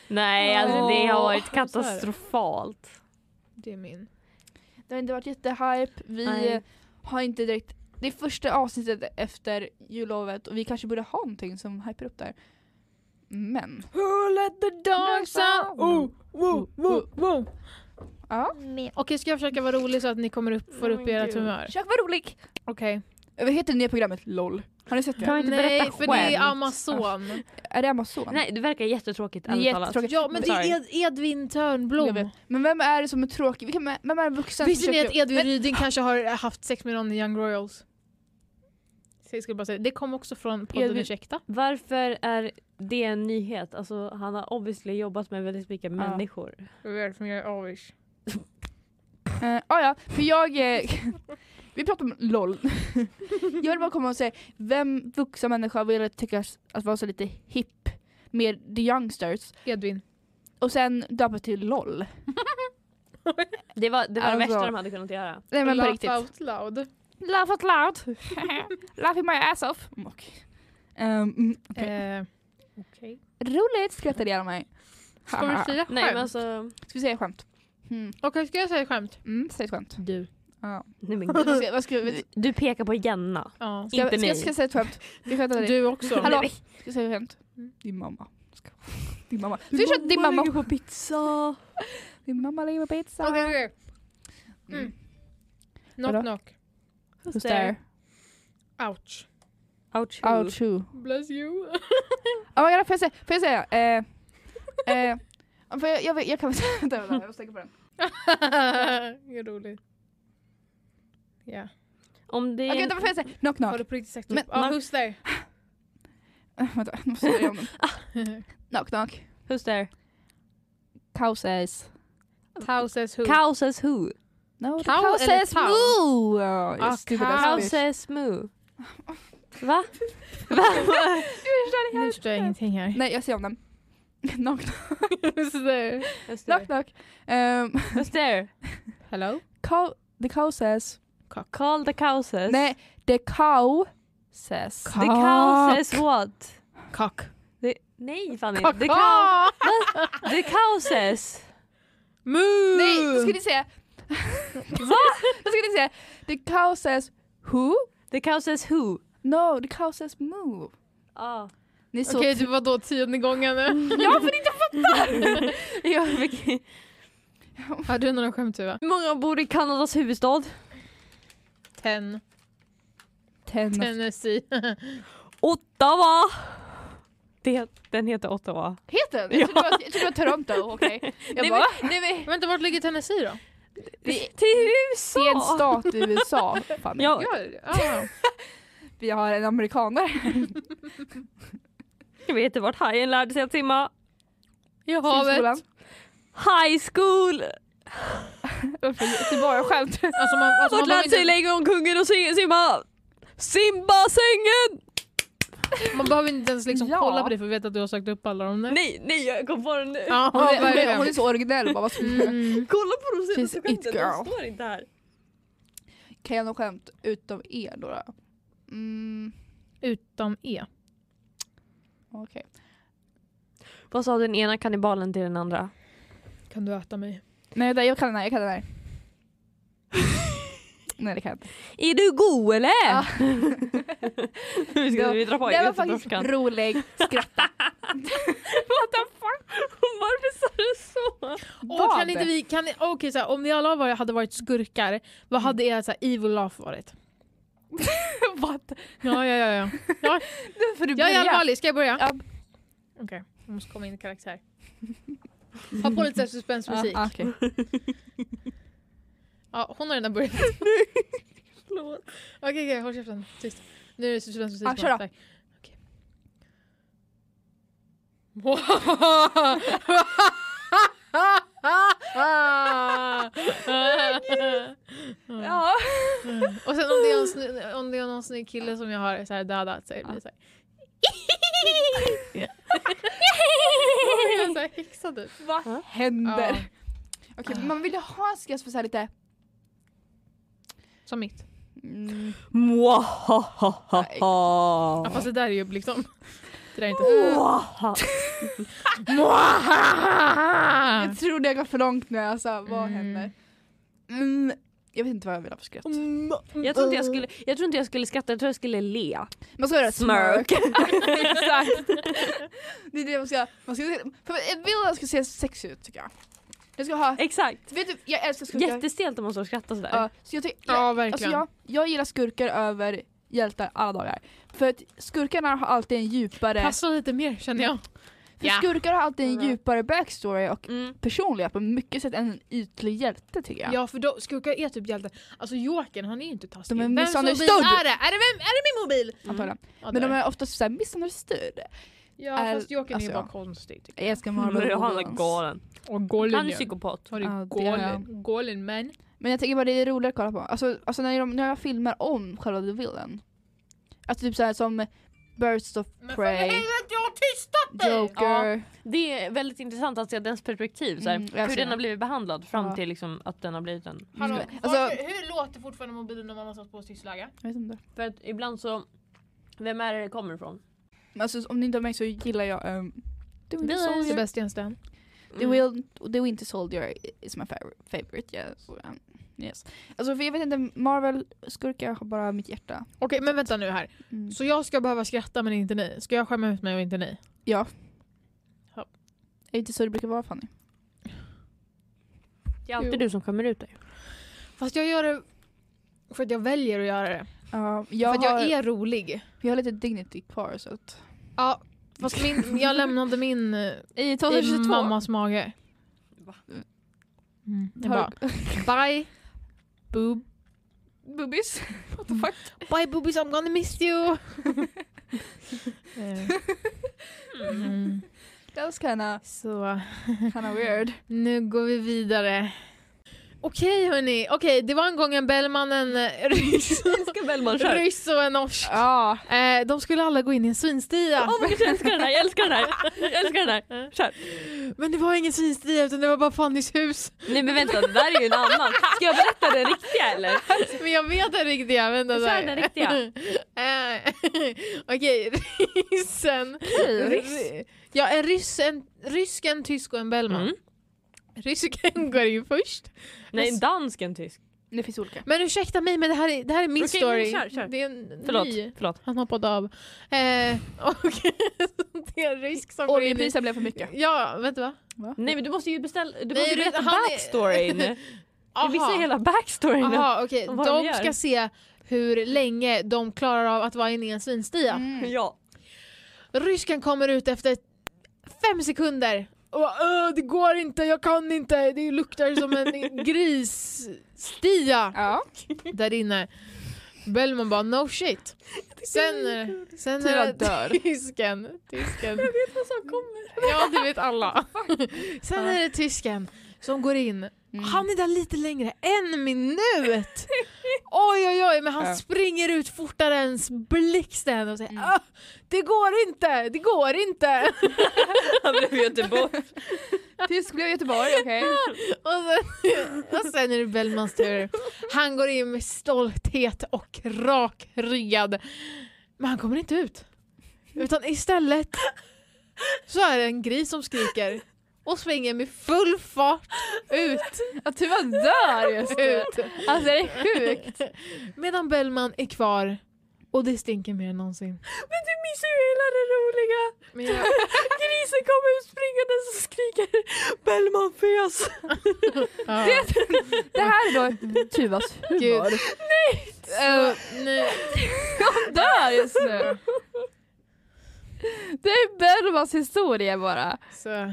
Nej, alltså det har varit
Åh,
katastrofalt.
Det är min.
Det har inte varit jättehype. Vi
Nej.
har inte direkt... Det är första avsnittet efter jullovet och vi kanske borde ha någonting som hyper upp där. Men.
Who let the dogs out? Oh, woo, woo, woo.
Med
Okej, ska jag försöka vara rolig så att ni kommer upp, får
Oh
upp
my
ert
God.
humör?
Kök vad rolig!
Okej.
Vad heter det nya programmet? LOL. Har ni sett det?
Kan vi inte
Nej,
berätta
för det är
skämt?
Amazon.
Är det Amazon?
Nej, det verkar jättetråkigt
Det är
ärligt talat.
jättetråkigt.
Ja, men det
Sorry.
är Ed- Edvin
Jag
Törnblom.
vet. Men vem är det som är tråkig? Vilka, vem är det vuxen
Visste ni
försöker-
att Edvin
Men-
Ryding kanske har haft sex med någon i Young Royals? Så jag skulle bara säga. Det kom också från podden
Edvin-
Ursäkta.
Varför är det en nyhet? Alltså, han har obviously jobbat med väldigt mycket människor.
Välkommen, jag är avish.
Eh, ah, ja, för jag... Eh, vi pratar om LOL. jag vill bara komma och säga, vem vuxen människa vill tycka att vara så lite hipp med the youngsters
Edvin.
och sen döpa till LOL?
Det var det, var det
Alltså-
värsta de hade kunnat göra.
Nej men på
Laugh
riktigt.
out loud.
Laugh out loud. Laughing my ass off. Mm, okej. Ehm, mm, okej.
Eh,
Roligt skrattade jag mig.
ska vi säga skämt?
Nej men alltså,
Ska vi säga ett skämt? Mm,
Okej, ska jag säga skämt?
mm, säg ett skämt.
Du.
nej, men,
Vad
gud.
ska, vad ska, vi-
Du- du pekar på Jenna.
Ja.
ska,
Inte
ska, ska,
mig.
ska jag säga ett skämt? Vi skämtar dig.
Du också.
Hallå, ska jag säga ett skämt? Din mamma. Ska- Din mamma. Ska vi köra din mamma?
ligger på pizza.
Din mamma lever pizza.
Okej, okej.
Mm.
Knock
Vadå?
knock.
Who's there?
Ouch.
Ouch.
Ouch who?
Bless you.
Oh my God, får jag säga? Får jag säga? Eh, eh, för jag, jag, vet- jag kan väl säga... Vänta, vänta, jag måste tänka på den.
det är roligt. Ja.
Om det
Okej,
är
vänta, vad får jag säga? Knock knock.
Har du på riktigt sagt
Men-
upp? Ja,
man-
who's there?
Äh, Vänta, jag måste börja om. knock knock.
Who's there?
Cow says.
Tao says who?
Cow says who?
No, the
Cow
cow
eller
says
tau?
moo! Ja,
Ah,
you stupid alltså.
cow.
ass
Cow
bitch.
says moo. Va? Va?
Nu förstår jag ingenting här.
Nej, jag ser om den. knock knock.
Who's there?
knock, knock. Um,
Who's there?
Hello?
cow, the cow says.
Call the cow says.
Nej, the cow says.
The cow says what?
Cock.
The, nej Fanny.
Cock.
The cow,
Ah!
the cow says.
Moo!
Nej, då ska ni se. Va? Då ska ni se. The cow says who?
The cow says who?
No, the cow says moo.
Ah.
Ni är så
Okej, du var då tionde gången nu.
Ja, för inte
Jag fick...
Har du några skämt Tuva?
Hur många bor i Kanadas huvudstad?
Ten.
Ten.
Tennessee.
Ottawa! Det, den heter Ottawa.
Heter den? Jag trodde det var- jag trodde det var Toronto, okej. Jag
Nej,
bara,
men- nej, men-
Vänta, vart ligger Tennessee då?
Det- Till USA!
det är en stat i USA. Fan,
Ja,
ah.
Vi har en amerikanare.
jag vet inte vart hajen lärde sig att simma.
I havet.
Simskolan.
High school!
Varför? Det är bara skämt.
Alltså man, alltså
Vart
man,
lärde sig
behöver inte,
längre om kungen och sim- simma? Simbassängen!
man behöver inte ens liksom
Ja.
kolla på det för att veta att du har sökt upp alla de där.
Nej, nej jag kom på den nu.
Ja,
Hon är,
verkligen.
hon är så originell. Bara, vad ska vi-
Mm.
Kolla på de senaste
She's it
skämten,
girl.
de står inte här.
Kan jag något skämt utom er då? då? Mm,
Utom E.
okej.
Vad sa den ena kannibalen till den andra?
Kan du äta mig?
Nej, vänta, jag kan den här. Jag kan den här. Nej, det kan jag inte.
Är du god eller?
Ah.
Nu ska
Det var-
vi dra på
Det var faktiskt
göteborgskan.
rolig. Skratta.
What the fuck? Varför sa du så?
Och kan inte vi, kan, ni- okej så här, om ni alla var, hade varit skurkar, vad hade er så här, evil laugh varit?
Vad?
Ja, ja, ja. ja.
Nu får du
Jag är
börja.
allvarlig, ska jag börja?
Ja.
Okej, jag måste komma in i karaktär. Ha på lite så här suspensmusik.
Ja, okej.
Ja, hon har redan börjat. Okej, okej, håll käften. Tyst. Nu är det suspensmusik.
Ja, Ah, kör då.
Tack. Okej. Ja.
Ja.
Och sen om det är, en sny- om det är någon snygg kille som jag har så här dödat så är det så här. Jag är så här häxad ut.
Vad händer?
Ja.
Okej, men man vill ju ha en skratt för så här lite...
Som mitt.
Mm.
Ja,
Mwahahaha.
fast det där är ju liksom. Det där är inte.
Oh!
Mwahaha.
Jag trodde jag går för långt nu, alltså vad
Mm.
händer? Mm. Jag vet inte vad jag vill ha för skratt.
Mm, Jag tror, inte jag, skulle, jag tror inte jag skulle skratta, jag tror jag skulle le.
Man ska göra
Smirk.
Exakt. Det är det man ska... Man ska för en bild ska se sexig ut tycker jag. Jag ska ha...
Exakt.
Vet du, jag älskar skurkar.
Jättestelt om man står och skrattar sådär.
Ja, så jag tycker, jag,
Ja, verkligen.
alltså jag, jag gillar skurkar över hjältar alla dagar. För att skurkarna har alltid en djupare...
Passa lite mer känner jag.
För
Ja.
skurkar har alltid en
Bra.
djupare backstory och
Mm.
personliga på mycket sätt än en ytlig hjälte tycker jag.
Ja för då, skurkar är typ hjältar. Alltså Jokern han är ju inte taskig.
De är
Vems mobil
misunderstood.
är det? Är det, vem, är det min mobil?
Mm.
Antagligen.
Mm. Ja,
Men
där.
de är oftast såhär misunderstood.
ja
är-
fast Jokern är
alltså,
ju bara
ja.
konstig. Tycker
Jag älskar
Han
Marlon
är
Wayans.
galen.
jag. Och
Han
Golin
är
ju.
psykopat.
Har du
Ja, det är
Golin? Golin man.
Men jag tänker bara det är roligare att kolla på. Alltså, alltså när, de, när jag filmar om själva The Villain. Alltså typ såhär som Birds of
Men för
Prey,
helvete jag har tystat dig!
Joker.
Det är väldigt intressant att se dens perspektiv. Såhär,
Mm, jag
hur
ser
den
det.
har blivit behandlad fram
Ja.
till liksom, att den har blivit en.
Hallå,
Mm.
varför,
Alltså-
hur låter fortfarande mobilen när man har satt på tystläge?
Jag vet inte.
För att ibland så, vem är det det kommer ifrån?
Men alltså om ni inte har märkt så gillar jag ehm, The Mm. Winter Soldier.
Sebastian Stan.
Mm.
The, Will, the Winter Soldier is my fav- favorite. Yes. Um, yes. Alltså för jag vet inte, Marvel-skurkar har bara mitt hjärta.
Okej men vänta nu här.
Mm.
Så jag ska behöva skratta men inte ni? Ska jag skämma ut mig och inte ni?
Ja.
Ja.
Är det inte så det brukar vara Fanny?
Det är alltid
Jo.
du som kommer ut dig.
Fast jag gör det för att jag väljer att göra det.
Ja, jag,
för att jag
har,
är rolig.
jag har lite dignity kvar så att...
Ja, fast min, jag lämnade min eh,
I
i
2022
mammas mage.
Va?
Mm, jag
Har-
bara, bye boob.
Bubis. What the fuck?
Bye boobies I'm gonna miss you. Eh, mm.
That was kinda,
Så
kinda weird.
nu går vi vidare. Okej hörni, okej det var en gång en Bellman, en eh, ryss,
Ska Bellman köra?
ryss och en norsk.
Ja.
Eh, de skulle alla gå in i en svinstia.
Åh, men jag älskar den här, jag älskar den här! Jag älskar den här! Kör!
Men det var ingen svinstia utan det var bara Fannys hus.
Nej men vänta, det där är ju en annan. Ska jag berätta den riktiga eller?
Men jag vet den riktiga. Vänta,
Kör
där.
den riktiga.
Eh, Okej, ryssen.
Ryss?
Ja, en ryss, en rysk, en tysk och en Bellman.
Mm.
Rysken går ju först.
Nej, en dansk en tysk.
Det finns olika.
Men ursäkta mig, men det här är, det här är min
Okej,
story.
men kör, kör.
Det är en
Förlåt,
ny.
förlåt.
Han hoppade av. Eh, och det är en rysk som går in i...
Oljepriset blev för mycket.
Ja, vet du vad?
Nej men du måste ju beställa, du
Nej,
måste ju
det-
berätta
han är-
backstoryn. Du missar hela backstoryn.
Aha, okej.
Vad de
De
gör.
ska se hur länge de klarar av att vara inne i en svinstia.
Mm.
Ja.
Rysken kommer ut efter fem sekunder. Och, "Åh, det går inte, jag kan inte, det luktar som en grisstia
Ja.
där inne. Bellman bara no shit. Sen, eh, sen
Tyra
är
dör.
det tysken. tysken.
Vad som kommer?
Ja det vet alla. Sen är det tysken som går in.
Mm.
Han är där lite längre, en minut! Oj oj oj, men han
Ja.
springer ut fortare än s- blixten och säger
Mm.
"Ah, Det går inte, det går inte!
Han blev i Göteborg.
Tysk blev Göteborg, okej.
Och sen, och sen är det Bellmans tur. Han går in med stolthet och rakryggad. Men han kommer inte ut. Utan istället så är det en gris som skriker och svänger med full fart ut.
Att du var dör just nu.
ut.
Alltså det är sjukt.
Medan Bellman är kvar och det stinker mer än någonsin.
Men du missar ju hela det roliga!
Men jag,
Grisen kommer ut springandes och skriker Bellman fes!
ja.
Det här är då Tuvas
Gud.
humor.
Så, nej.
Hon dör just nu. Det är Bermans historia bara.
Så.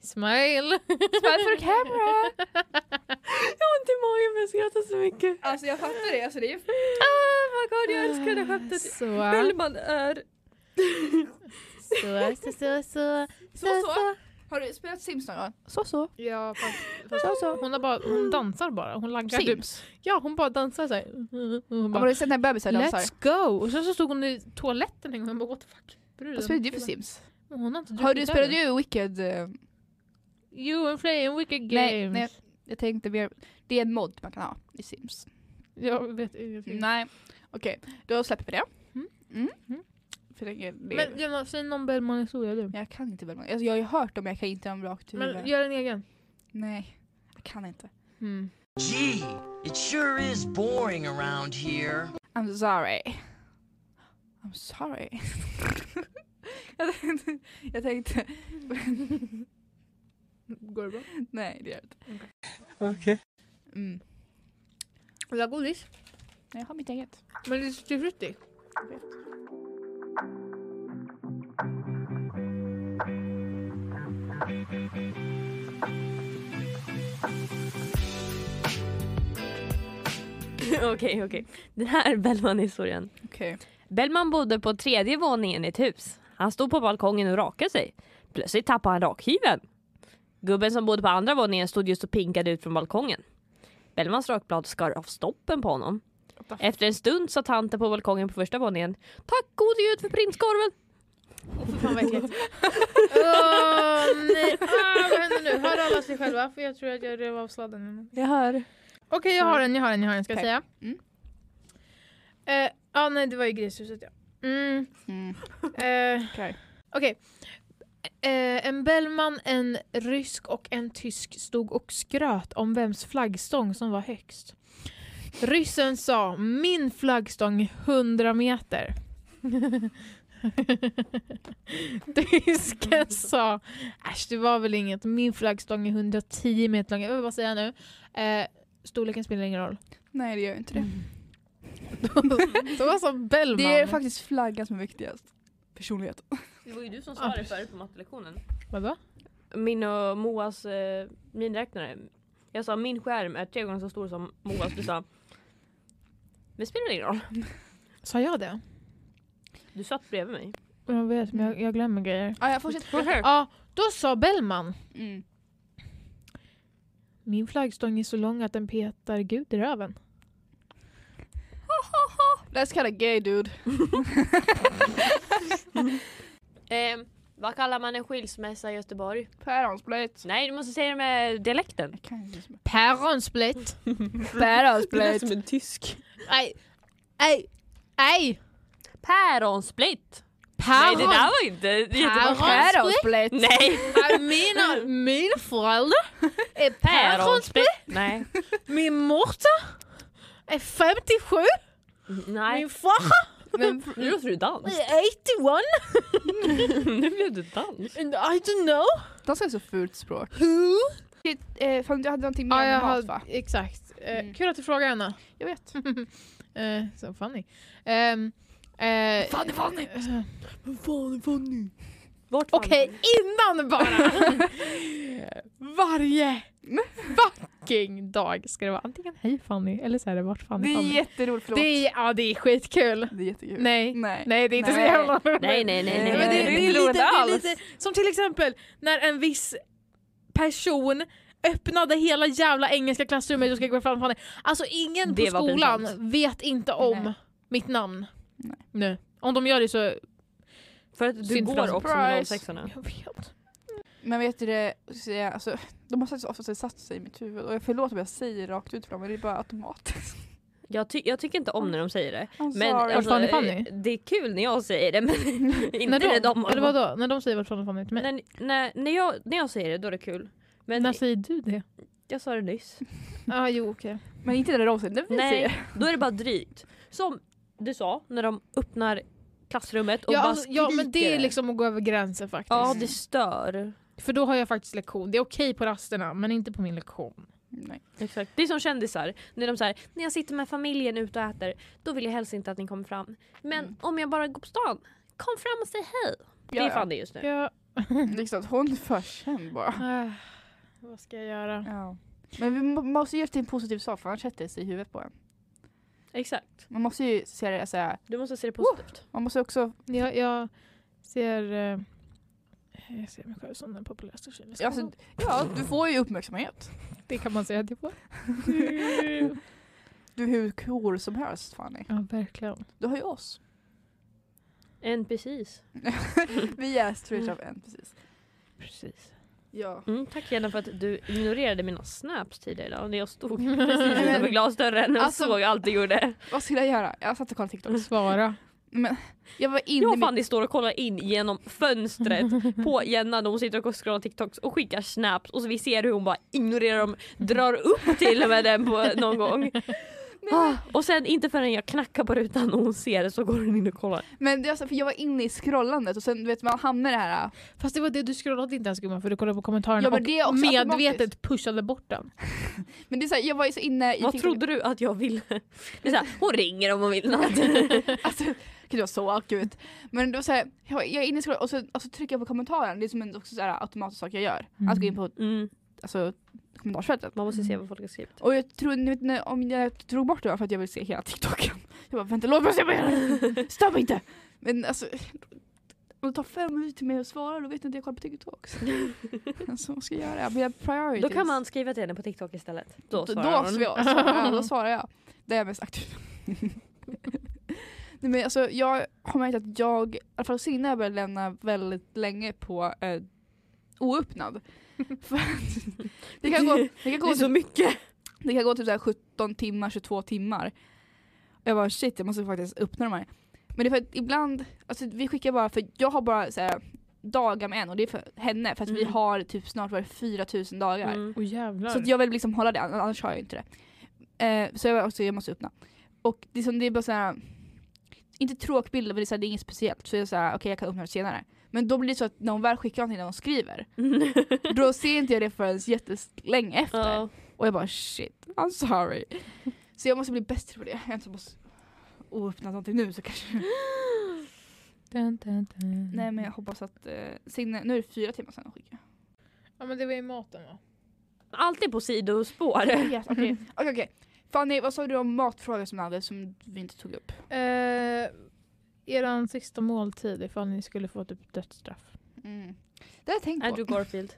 Smile!
Smile for camera.
Jag har ont i magen men jag skrattar så mycket.
Alltså jag fattar det. Alltså, det är...
Oh my god jag älskar det skämtet.
Så,
Bellman är...
så, så, så, så.
Så så. Har du spelat Sims någon gång? Så så.
Ja, fast, fast Hon, har bara, hon dansar bara. Hon laggar typ.
Sims.
Ja, hon bara dansar såhär. Hon
Ja, men Har
bara,
du sett när bebisar dansar?
Let's go! Och sen så stod hon i toaletten en gång och bara what the fuck. Bryr dig
Vad
om
spelar du för
killar?
Sims?
Hon har inte
Har du
druckit
spelat
öl.
du Wicked? eh,
You and playing wicked games.
Nej, nej, jag tänkte mer. Det är en mod man kan ha i Sims.
Jag vet ingenting.
Nej, okej. Då släpper vi det.
Mm.
Mm.
Mm.
För det, är- det,
Men
är-
Jonas, säg någon Bellman-historia du.
jag kan inte Bellman. Alltså, jag har ju hört dem, jag kan inte dem rakt i
Men
huvudet.
gör en egen.
Nej, jag kan inte.
Mm.
Gee, it sure is boring around here.
I'm sorry. I'm sorry. jag tänkte... Jag tänkte
Går det bra?
nej, det gör jag inte. Okej. Mm.
Vill du ha godis?
Nej, Jag har mitt eget.
Men det är tutti frutti.
Okej okej. Den här Bellman-historien.
Okej.
Bellman bodde på tredje våningen i ett hus. Han stod på balkongen och rakade sig. Plötsligt tappade han rakhyveln. Gubben som bodde på andra våningen stod just och pinkade ut från balkongen. Bellmans rakblad skar av stoppen på honom. Efter en stund sa tanten på balkongen på första våningen Tack gode gud för prinskorven!
Åh för fan vad äckligt. Åh nej. Ah, vad händer nu? Hör alla sig själva? För jag tror att jag rev av sladden. innan.
Jag hör.
Okej, jag har en, jag har en, jag har en. Ska jag
Okej.
säga?
Mm.
Eh, ah, nej, det var ju grishuset ja. Mm,
Mm.
eh,
Okej.
Okej. Eh, en Bellman, en rysk och en tysk stod och skröt om vems flaggstång som var högst. Ryssen sa min flaggstång är 100 meter. Tysken sa äsch det var väl inget, min flaggstång är 110 meter lång. Jag vill bara säga nu, eh, storleken spelar ingen roll.
Nej, det gör inte
Mm.
det.
Det var som Bellman.
Det är faktiskt flaggan som är viktigast. Personlighet.
Det var ju du som
sa det
förut på mattelektionen.
Vadå?
Min och Moas eh, miniräknare. Jag sa min skärm är tre gånger så stor som Moas. Du sa det spelar ingen roll.
Sa jag det?
Du satt bredvid mig.
Jag vet, men jag, jag glömmer grejer.
Ah, ja, fortsätt.
Ja, då sa Bellman.
Mm.
Min flaggstång är så lång att den petar Gud i röven. Ah,
That's kinda gay dude.
Ehm, vad kallar man en skilsmässa i Göteborg?
Päronsplöjt.
Nej, du måste säga det med dialekten.
Päronsplitt.
Päronsplöjt.
en tysk.
Nej. Nej. Nej.
Päronsplitt! Nej,
Päron.
det där var inte jättebra.
Päron.
Päronsplöjt.
Nej,
Jag menar, mina föräldrar är päronsplitt.
päronsplitt! Nej.
Min morsa är 57.
Nej.
Min farfar
Men
Nu låter du dans.
är 81.
Nu blev du dans.
And I don't know
dansa är så fult språk.
who.
Shit, eh, fan, du hade någonting mer
Ja, jag
med mat
har,
va?
exakt. Eh,
Mm.
Kul att du frågar, Anna.
Jag vet.
Eh, så funny. Ehm, eh,
Fanny, Fanny!
eh,
Vart var
Okej, innan bara! Varje fucking dag ska det vara antingen hej Fanny eller så är det vart
Det
Fanny
är
Fanny.
jätteroligt, förlåt.
Det är, ja, det är skitkul.
Det är jättekul.
Nej.
Nej.
Nej, det är inte
Nej.
så jävla roligt.
Nej, nej, nej. nej,
Men det,
nej,
det,
inte
är lite,
roligt
det är
alls.
lite som till exempel när en viss person öppnade hela jävla engelska klassrummet och skrek "Vad fan, fan är-" Alltså ingen
Det
på
var
skolan
pinsamt.
vet inte om
Nej.
mitt namn.
Nej.
Nej. Om de gör det så...
För att du
Synd för
går
dem.
också med
Surprise.
06 orna
Jag vet.
Men vet du det, så jag- alltså, de har så ofta satt sig i mitt huvud och jag förlåt om jag säger rakt ut för dem men det är bara automatiskt.
jag, ty- jag tycker inte om när de säger det.
I'm
Men
sorry.
alltså,
Fanny Fanny?
det är kul när jag säger det men inte
När de,
när de
eller vadå? När de säger vart fan fan till mig?
När, när, när, jag, när jag säger det då är det kul. Men
När säger du det?
jag sa det nyss.
Ja, ah, jo okej.
Men inte när de säger det, vi säger.
Nej, då är det bara drygt. Som du sa, när de öppnar klassrummet och
Ja,
bara
alltså, ja men det
skriker.
är liksom att gå över gränsen faktiskt.
Ja, det stör.
För då har jag faktiskt lektion. Det är okej på rasterna men inte på min lektion.
Nej.
Exakt. Det är som kändisar. När de säger när jag sitter med familjen ute och äter, då vill jag helst inte att ni kommer fram. Men
Mm.
om jag bara går på stan, kom fram och säg hej. Det
Ja,
är
ja.
fan det just nu.
Ja,
Liksom, hon är för känd bara.
äh, vad ska jag göra?
Ja. Men vi må- måste ju göra det till en positiv sak för annars sätter det sig i huvudet på en.
Exakt.
Man måste ju se det så här.
Du måste se det positivt.
man måste också,
Jag, jag ser... eh, Jag ser mig själv som den populäraste tjejen i skolan.
alltså, ja du får ju uppmärksamhet.
det kan man säga att jag får.
Du är hur cool som helst Fanny.
ja, verkligen.
Du har ju oss.
En precis.
Vi är straight up en precis.
Precis.
Ja.
Mm, tack Jenna för att du ignorerade mina snaps tidigare idag när jag stod precis utanför glasdörren och
Alltså-
såg allt du gjorde.
Vad skulle jag göra? Jag satt och kollade TikToks.
Svara.
Men jag var inne
Jag
i
och Fanny står och kollar in genom fönstret på Jenna när hon sitter och scrollar TikToks och skickar snaps och så vi ser hur hon bara ignorerar dem, drar upp till och med den på någon gång. Ah, och sen inte förrän jag knackar på rutan och hon ser det så går hon in och kollar.
Men det var så, för jag var inne i scrollandet och sen du vet man hamnar i det här. äh,
Fast det var det du scrollade inte ens gumman för du kollade på kommentarerna
Ja, men det är
och
också
medvetet pushade bort den.
Men det är så här, jag var ju så inne i
Vad
TikTok.
trodde du att jag ville? Det är så här, hon ringer om hon vill något.
Alltså, gud det var så akut. Men det var så här, jag, var- jag är inne i scrollandet och så, och så trycker jag på kommentaren. Det är som en också så här, automatisk sak jag gör. Att gå in på
Mm,
alltså, kommentarsfältet.
man måste se vad folk har skrivit.
Och jag tror, ni vet, när- om jag drog bort det var för att jag ville se hela TikToken. Jag bara vänta låt mig se på hela. Stör mig inte. Men alltså. Om det tar fem minuter till mig att svara då vet jag inte jag kollar på TikToks. Så vad ska jag göra? Mina priorities.
Då kan man skriva till henne på TikTok istället. Då
Då,
svarar
då,
hon.
svarar jag, då svarar jag. Det är jag mest aktiv. Nej, men alltså, jag har märkt att jag, i alla fall Signe, började lämna väldigt länge på eh, oöppnad. För att det kan gå, det kan
Det är
gå,
så
typ,
mycket.
det kan gå typ så här 17 timmar, 22 timmar. Jag bara shit, jag måste faktiskt öppna de här. Men det är för att ibland, alltså, vi skickar bara, för jag har bara så här, dagar med en och det är för henne för att vi
Mm.
har typ snart var det 4000 dagar.
Mm.
Åh jävlar.
Så att jag vill liksom hålla det, ann- annars har jag inte det. Eh, så jag, också, jag måste öppna. Och det är, som, det är bara såhär, inte tråkbilder men det är, såhär, det är inget speciellt. Så jag säger okej jag kan öppna det senare. Men då blir det så att när hon väl skickar någonting, när hon skriver,
Mm.
då ser inte jag det förrän jättelänge efter.
Ja.
Och jag bara shit, I'm sorry. Så jag måste bli bättre på det. Jag inte måste oöppna någonting typ nu så kanske.
Dun, dun, dun.
Nej men jag hoppas att, eh, Signe, nu är det fyra timmar sedan hon skickade.
Ja men det var ju maten va?
Alltid på sidospår.
Yes, Okej okej. okej. Fanny vad sa du om matfrågor som, vi hade som vi inte tog upp?
Eh, eran sista måltid ifall ni skulle få typ dödsstraff?
Mm. Det har jag tänkt på.
Andrew Garfield.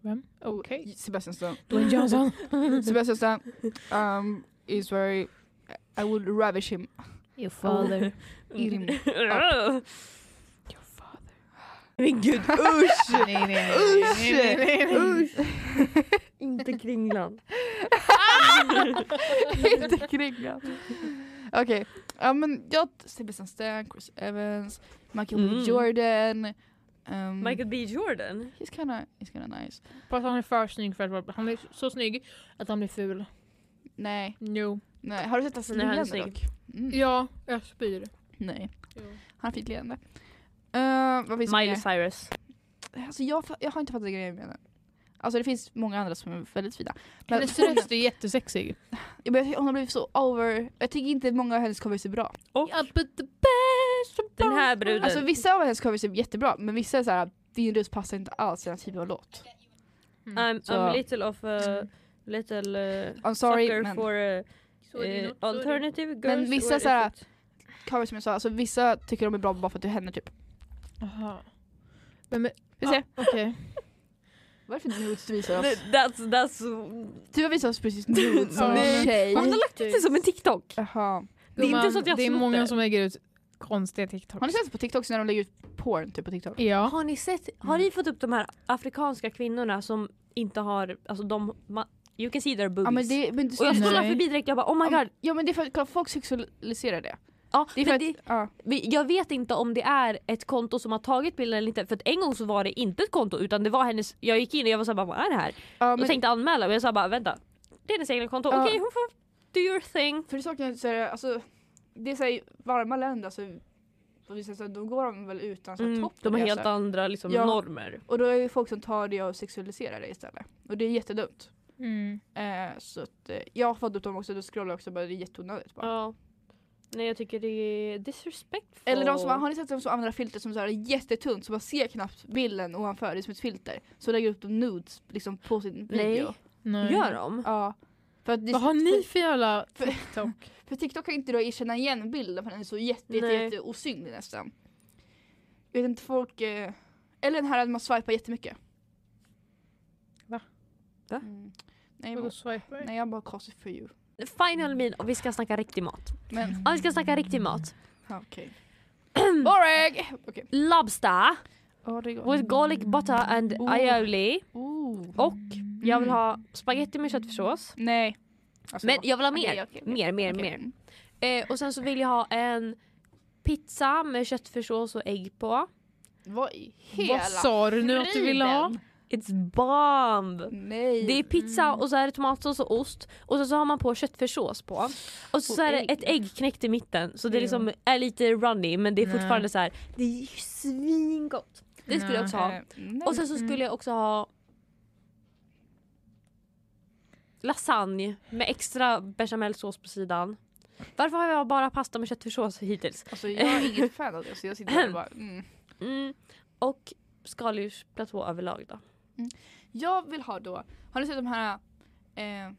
Vem?
Oh,
Okej.
Sebastian Stan.
Dwayne Johnson.
Sebastian Stan um, is very... I would ravish him.
Your father.
Eat him.
Your father.
Men gud,
Nej, nej, nej, nej, nej, nej, nej.
inte kringlan.
Inte kringlan. Okej, ja men jag... Sebastian Stan, Chris Evans, Michael B
Mm.
Jordan. Um,
Michael B Jordan.
He's kinda, he's kinda nice.
Fast han är för snygg för att vara... Han är så snygg att han blir ful.
Nej,
Jo.
nej. Har du sett hans
Nej, han är
leende
snygg.
dock? Mm.
Ja, jag spyr.
Nej.
Jo.
Han har fint leende. Uh, vad finns det
Miley
mer?
Cyrus.
Alltså jag, fa- jag har inte fattat grejen med den. Alltså det finns många andra som är väldigt fina. Men
Hennes röst är jättesexig.
jag börjar- hon har blivit så over... Jag tycker inte många av hennes covers är bra.
Och
I put the best of
den här
both
bruden.
worlds.
Alltså vissa av hennes covers är jättebra men vissa är såhär din röst passar inte alls till den här typen av låt.
I'm,
Så-
I'm little of a little uh,
I'm sorry
sucker
men
for uh,
Så är det något, så är
eh,
det något.
alternative girls.
Men vissa
where is
såhär-
it?
covers som jag sa, alltså vissa tycker de är bra bara för att det är henne typ.
Jaha. Vem är...
Vi ser.
Ah, Okej.
Varför nudes visar oss?
That's, that's...
Du har visat oss precis nudes som
Nej.
en tjej.
Har du lagt ut det som en TikTok?
Jaha.
Det är inte så att jag
det är
snott
många
det.
som lägger ut konstiga TikToks.
Har ni sett på TikTok när de lägger ut porn typ på TikTok?
Ja.
Har ni sett,
Mm.
har ni fått upp de här afrikanska kvinnorna som inte har, alltså de, ma- you can see their boobs.
Ja men det men du
och jag
Nej.
scrollar förbi direkt jag bara oh my god.
Ja men det är för att kolla, folk sexualiserar det.
Ja,
Det är för
men
att,
det,
ja.
vi- jag vet inte om det är ett konto som har tagit bilden eller inte för att en gång så var det inte ett konto utan det var hennes, jag gick in och jag var såhär vad är det här?
ja
Och
men,
tänkte anmäla och jag sa bara vänta, det är hennes egna konto,
Ja.
okej hon får do your thing.
För det saknas så är det, alltså, det är så här, i varma länder så, på vissa sätt, då går de väl utan så här,
Mm,
topp.
de
och
har
det,
helt
så här.
andra liksom,
Ja.
normer.
Och då är det folk som tar det och sexualiserar det istället. Och det är jättedumt.
Mm.
Eh, så att, eh, jag har fått upp dem också, då scrollar jag också bara, det är jätteonödigt bara.
Ja. Nej jag tycker det är disrespectful.
Eller de som, har ni sett de som använder filter som så här är jättetunt så man ser knappt bilden ovanför, det är som ett filter. Så lägger upp de nudes liksom på sin
Nej.
video.
Nej.
Gör de?
Ja. För att det,
Vad har ni för jävla
För-
TikTok?
För TikTok kan inte då erkänna igen bilden för den är så jätte, jätte,
Nej.
jätte osynlig nästan. Jag vet inte, folk... eh, Eller den här att man swipar jättemycket.
Va?
Va?
Mm. Nej, jag
Vadå
bara,
swiper?
nej, jag bara cause it for you.
Final meal och vi ska snacka riktig mat.
Men
Ja, vi ska snacka riktig mat.
ja, okej. Boring! Okej.
Lobster
Ja, det är gott.
with garlic butter and
Oh.
aioli.
Oh.
Och jag vill ha spaghetti med köttfärssås.
Nej. Alltså,
Men jag vill ha
Mm. okej,
mer.
okej, okej.
Mer, mer,
Okej.
mer. Eh, och sen så vill jag ha en pizza med köttfärssås och ägg på.
Vad i hela...
Vad sa du nu att du ville ha?
It's bomb!
Nej. Eh,
Det är pizza och så är det tomatsås och ost och sen så har man på köttfärssås på. Och så,
Och
så är det
ägg.
ett ägg knäckt i mitten så det
Jo.
liksom är lite runny men det är
Nej.
fortfarande så här. det är ju svingott. Det skulle jag också ha.
Eh, nej.
Och sen så skulle jag också ha lasagne med extra bechamelsås på sidan. Varför har jag bara pasta med köttfärssås hittills?
Alltså, jag är inget fan av det så jag sitter här och bara... Mm.
Mm. Och skaldjursplatå överlag då.
Jag vill ha då, har ni sett de här eh,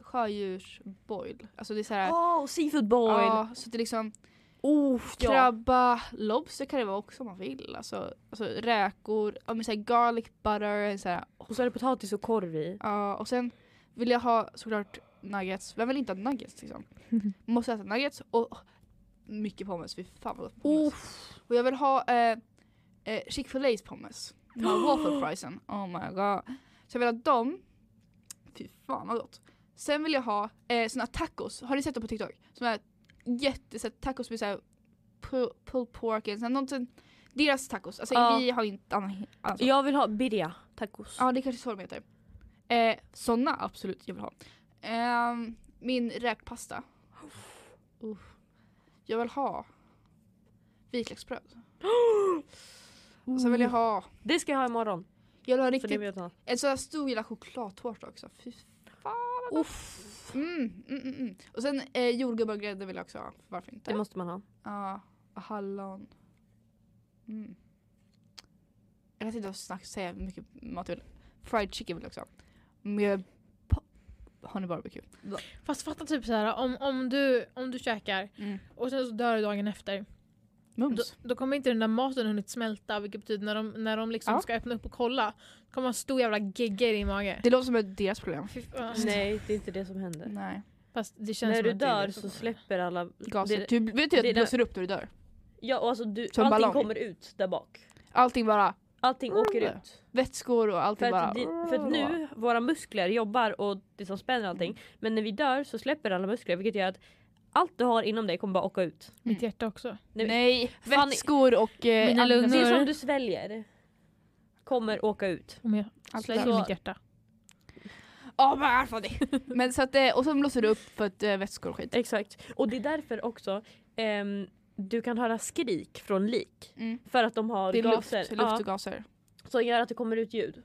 sjödjursboil? Alltså det är så här,
Oh, seafood boil!
ja, så det är liksom
Oh, ja.
krabba, lobster kan det vara också om man vill. Alltså, alltså räkor, ja, men så här garlic butter, så här,
Och så är det potatis och korv i.
ja, och sen vill jag ha såklart nuggets. Vem vill inte ha nuggets liksom? Måste äta nuggets och mycket pommes, fy fan vad gott med pommes. Och jag vill ha eh, eh, chick fil A's pommes. De här waffle friesen. Oh my god. Så jag vill ha dem. Fy fan vad gott. Sen vill jag ha eh, såna tacos. Har ni sett dem på TikTok? Som är jätte, så här, tacos med såhär pu- pulled pork eller så här någonting. Deras tacos. Alltså
Ja.
vi har inte annan. Alltså.
Jag vill ha birria tacos.
Ja det är kanske är så de heter. Eh, såna absolut jag vill ha. Ehm, min räkpasta. Uh. Jag vill ha vitlöksbröd. Och sen vill jag ha
Det ska jag ha imorgon.
jag vill ha
För det
riktigt,
vill jag ta.
en sån här stor jävla chokladtårta också. Fy fan vad gott. Mm, mm, mm, mm. Och sen eh, jordgubbar och grädde vill jag också ha. Varför inte?
Det måste man ha.
Ja, och hallon. Mm. Jag vet inte vad snack säga hur mycket mat jag vill. Fried chicken vill jag också ha. Med po- har ni barbecue.
Fast fatta typ så här, om, om, du, om du käkar
Mm.
och sen så dör du dagen efter. Då,
Mums.
då kommer inte den där maten hunnit smälta vilket betyder när de, när de liksom
Ja.
ska öppna upp och kolla kommer man ha en stor jävla gegga i din mage.
Det låter som ett deras problem.
Fy fan.
Nej, det är inte det som händer.
Nej.
Fast det Alltså. känns
När
som
du
att det är
dör
det som-
så släpper alla...
Gaser.
Det-
Du vet ju att
det
du
är
blåser upp när du dör.
Ja, och alltså du,
Som
allting
ballong.
kommer ut där bak.
Allting bara,
Allting åker ut.
vätskor och
För
allting bara.
att, di, för att nu, våra muskler jobbar och liksom spänner allting. Men när vi dör så släpper alla muskler vilket gör att allt du har inom dig kommer bara åka ut.
Mitt hjärta också.
Nej,
Fan,
vätskor och... Eh,
Mina
all-
lungor.
Det som du sväljer kommer åka ut.
Om jag
Allt
slänger
där.
mitt
Mm.
hjärta.
Ja, men i alla fall det. Men så att, eh, och så blåser du upp för att eh, vätskor och skit.
Exakt. Och det är därför också ehm, du kan höra skrik från lik.
Mm.
För att de har
Det är
gaser
luft, luft
ja,
och gaser.
som gör att det kommer ut ljud.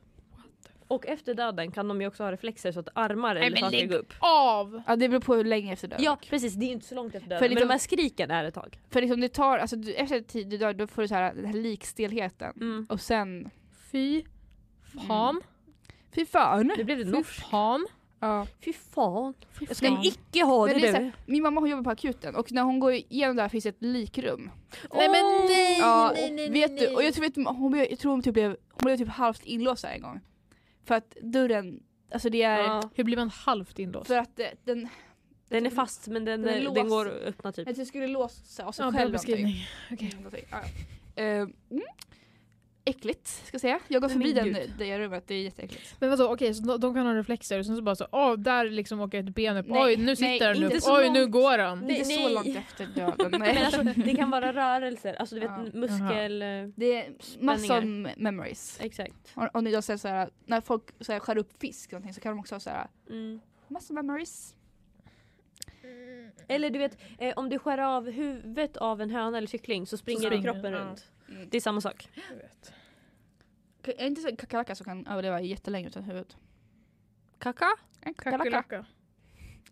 Och efter döden kan de ju också ha reflexer så att armar eller
men
saker
lägg
går upp.
Av!
Ja, det beror på hur länge efter döden.
Ja precis, det är ju inte så långt efter döden.
För
men
liksom-
de här skriken är ett tag.
För liksom det tar, alltså du, efter en tid du dör, då får du så här, den här likstelheten.
Mm.
Och sen,
Fy
Mm.
fan.
fy fan!
Nu blev det
Fy
norskt.
fan.
Ja.
Fy fan.
Fy
Jag ska
fan.
icke ha
Men
det,
det är så
nu.
här, min mamma hon jobbar på akuten och när hon går igenom det här finns ett likrum.
Nej men nej!
Ja,
nej,
och
nej,
vet
nej,
du,
nej.
och jag tror, vet, du, hon, blev- jag tror hon, typ blev, hon blev typ halvt inlåst där en gång. För att dörren, alltså det är,
Ja,
Hur blir man halvt inlåst?
för att eh, den,
den är fast men den,
Den är
den,
låst.
går att öppna typ.
jag tror skulle låsa av sig
Ja, bra
själv någonting.
beskrivning. Okej.
Mm, någonting. Ja, ja. Eh, mm. Äckligt ska jag säga. Jag går
Men min
förbi den,
gud.
det rummet, det är jätteäckligt.
Men vadå, okej så de, de kan ha reflexer och sen så bara så, åh där liksom åker ett ben upp,
Nej,
oj nu
nej,
sitter den
inte
upp,
så
oj nu
långt.
går den.
Nej,
Inte så
nej.
långt efter döden.
Men
nej.
alltså, det kan vara rörelser, alltså du vet
Ja.
muskel...
Det är massor av memories.
Exakt.
Om- Om ni då säger såhär, när folk så här, skär upp fisk eller någonting så kan de också ha såhär,
Mm.
massor memories.
Eller du vet, eh, om du skär av huvudet av en höna eller kyckling så springer,
springer
kroppen
den, ja.
runt.
Mm.
Det är samma sak.
Det är inte så kakalaka som kan överleva jättelänge utan huvud.
Kaka?
En kakalaka.
Kackerlacka.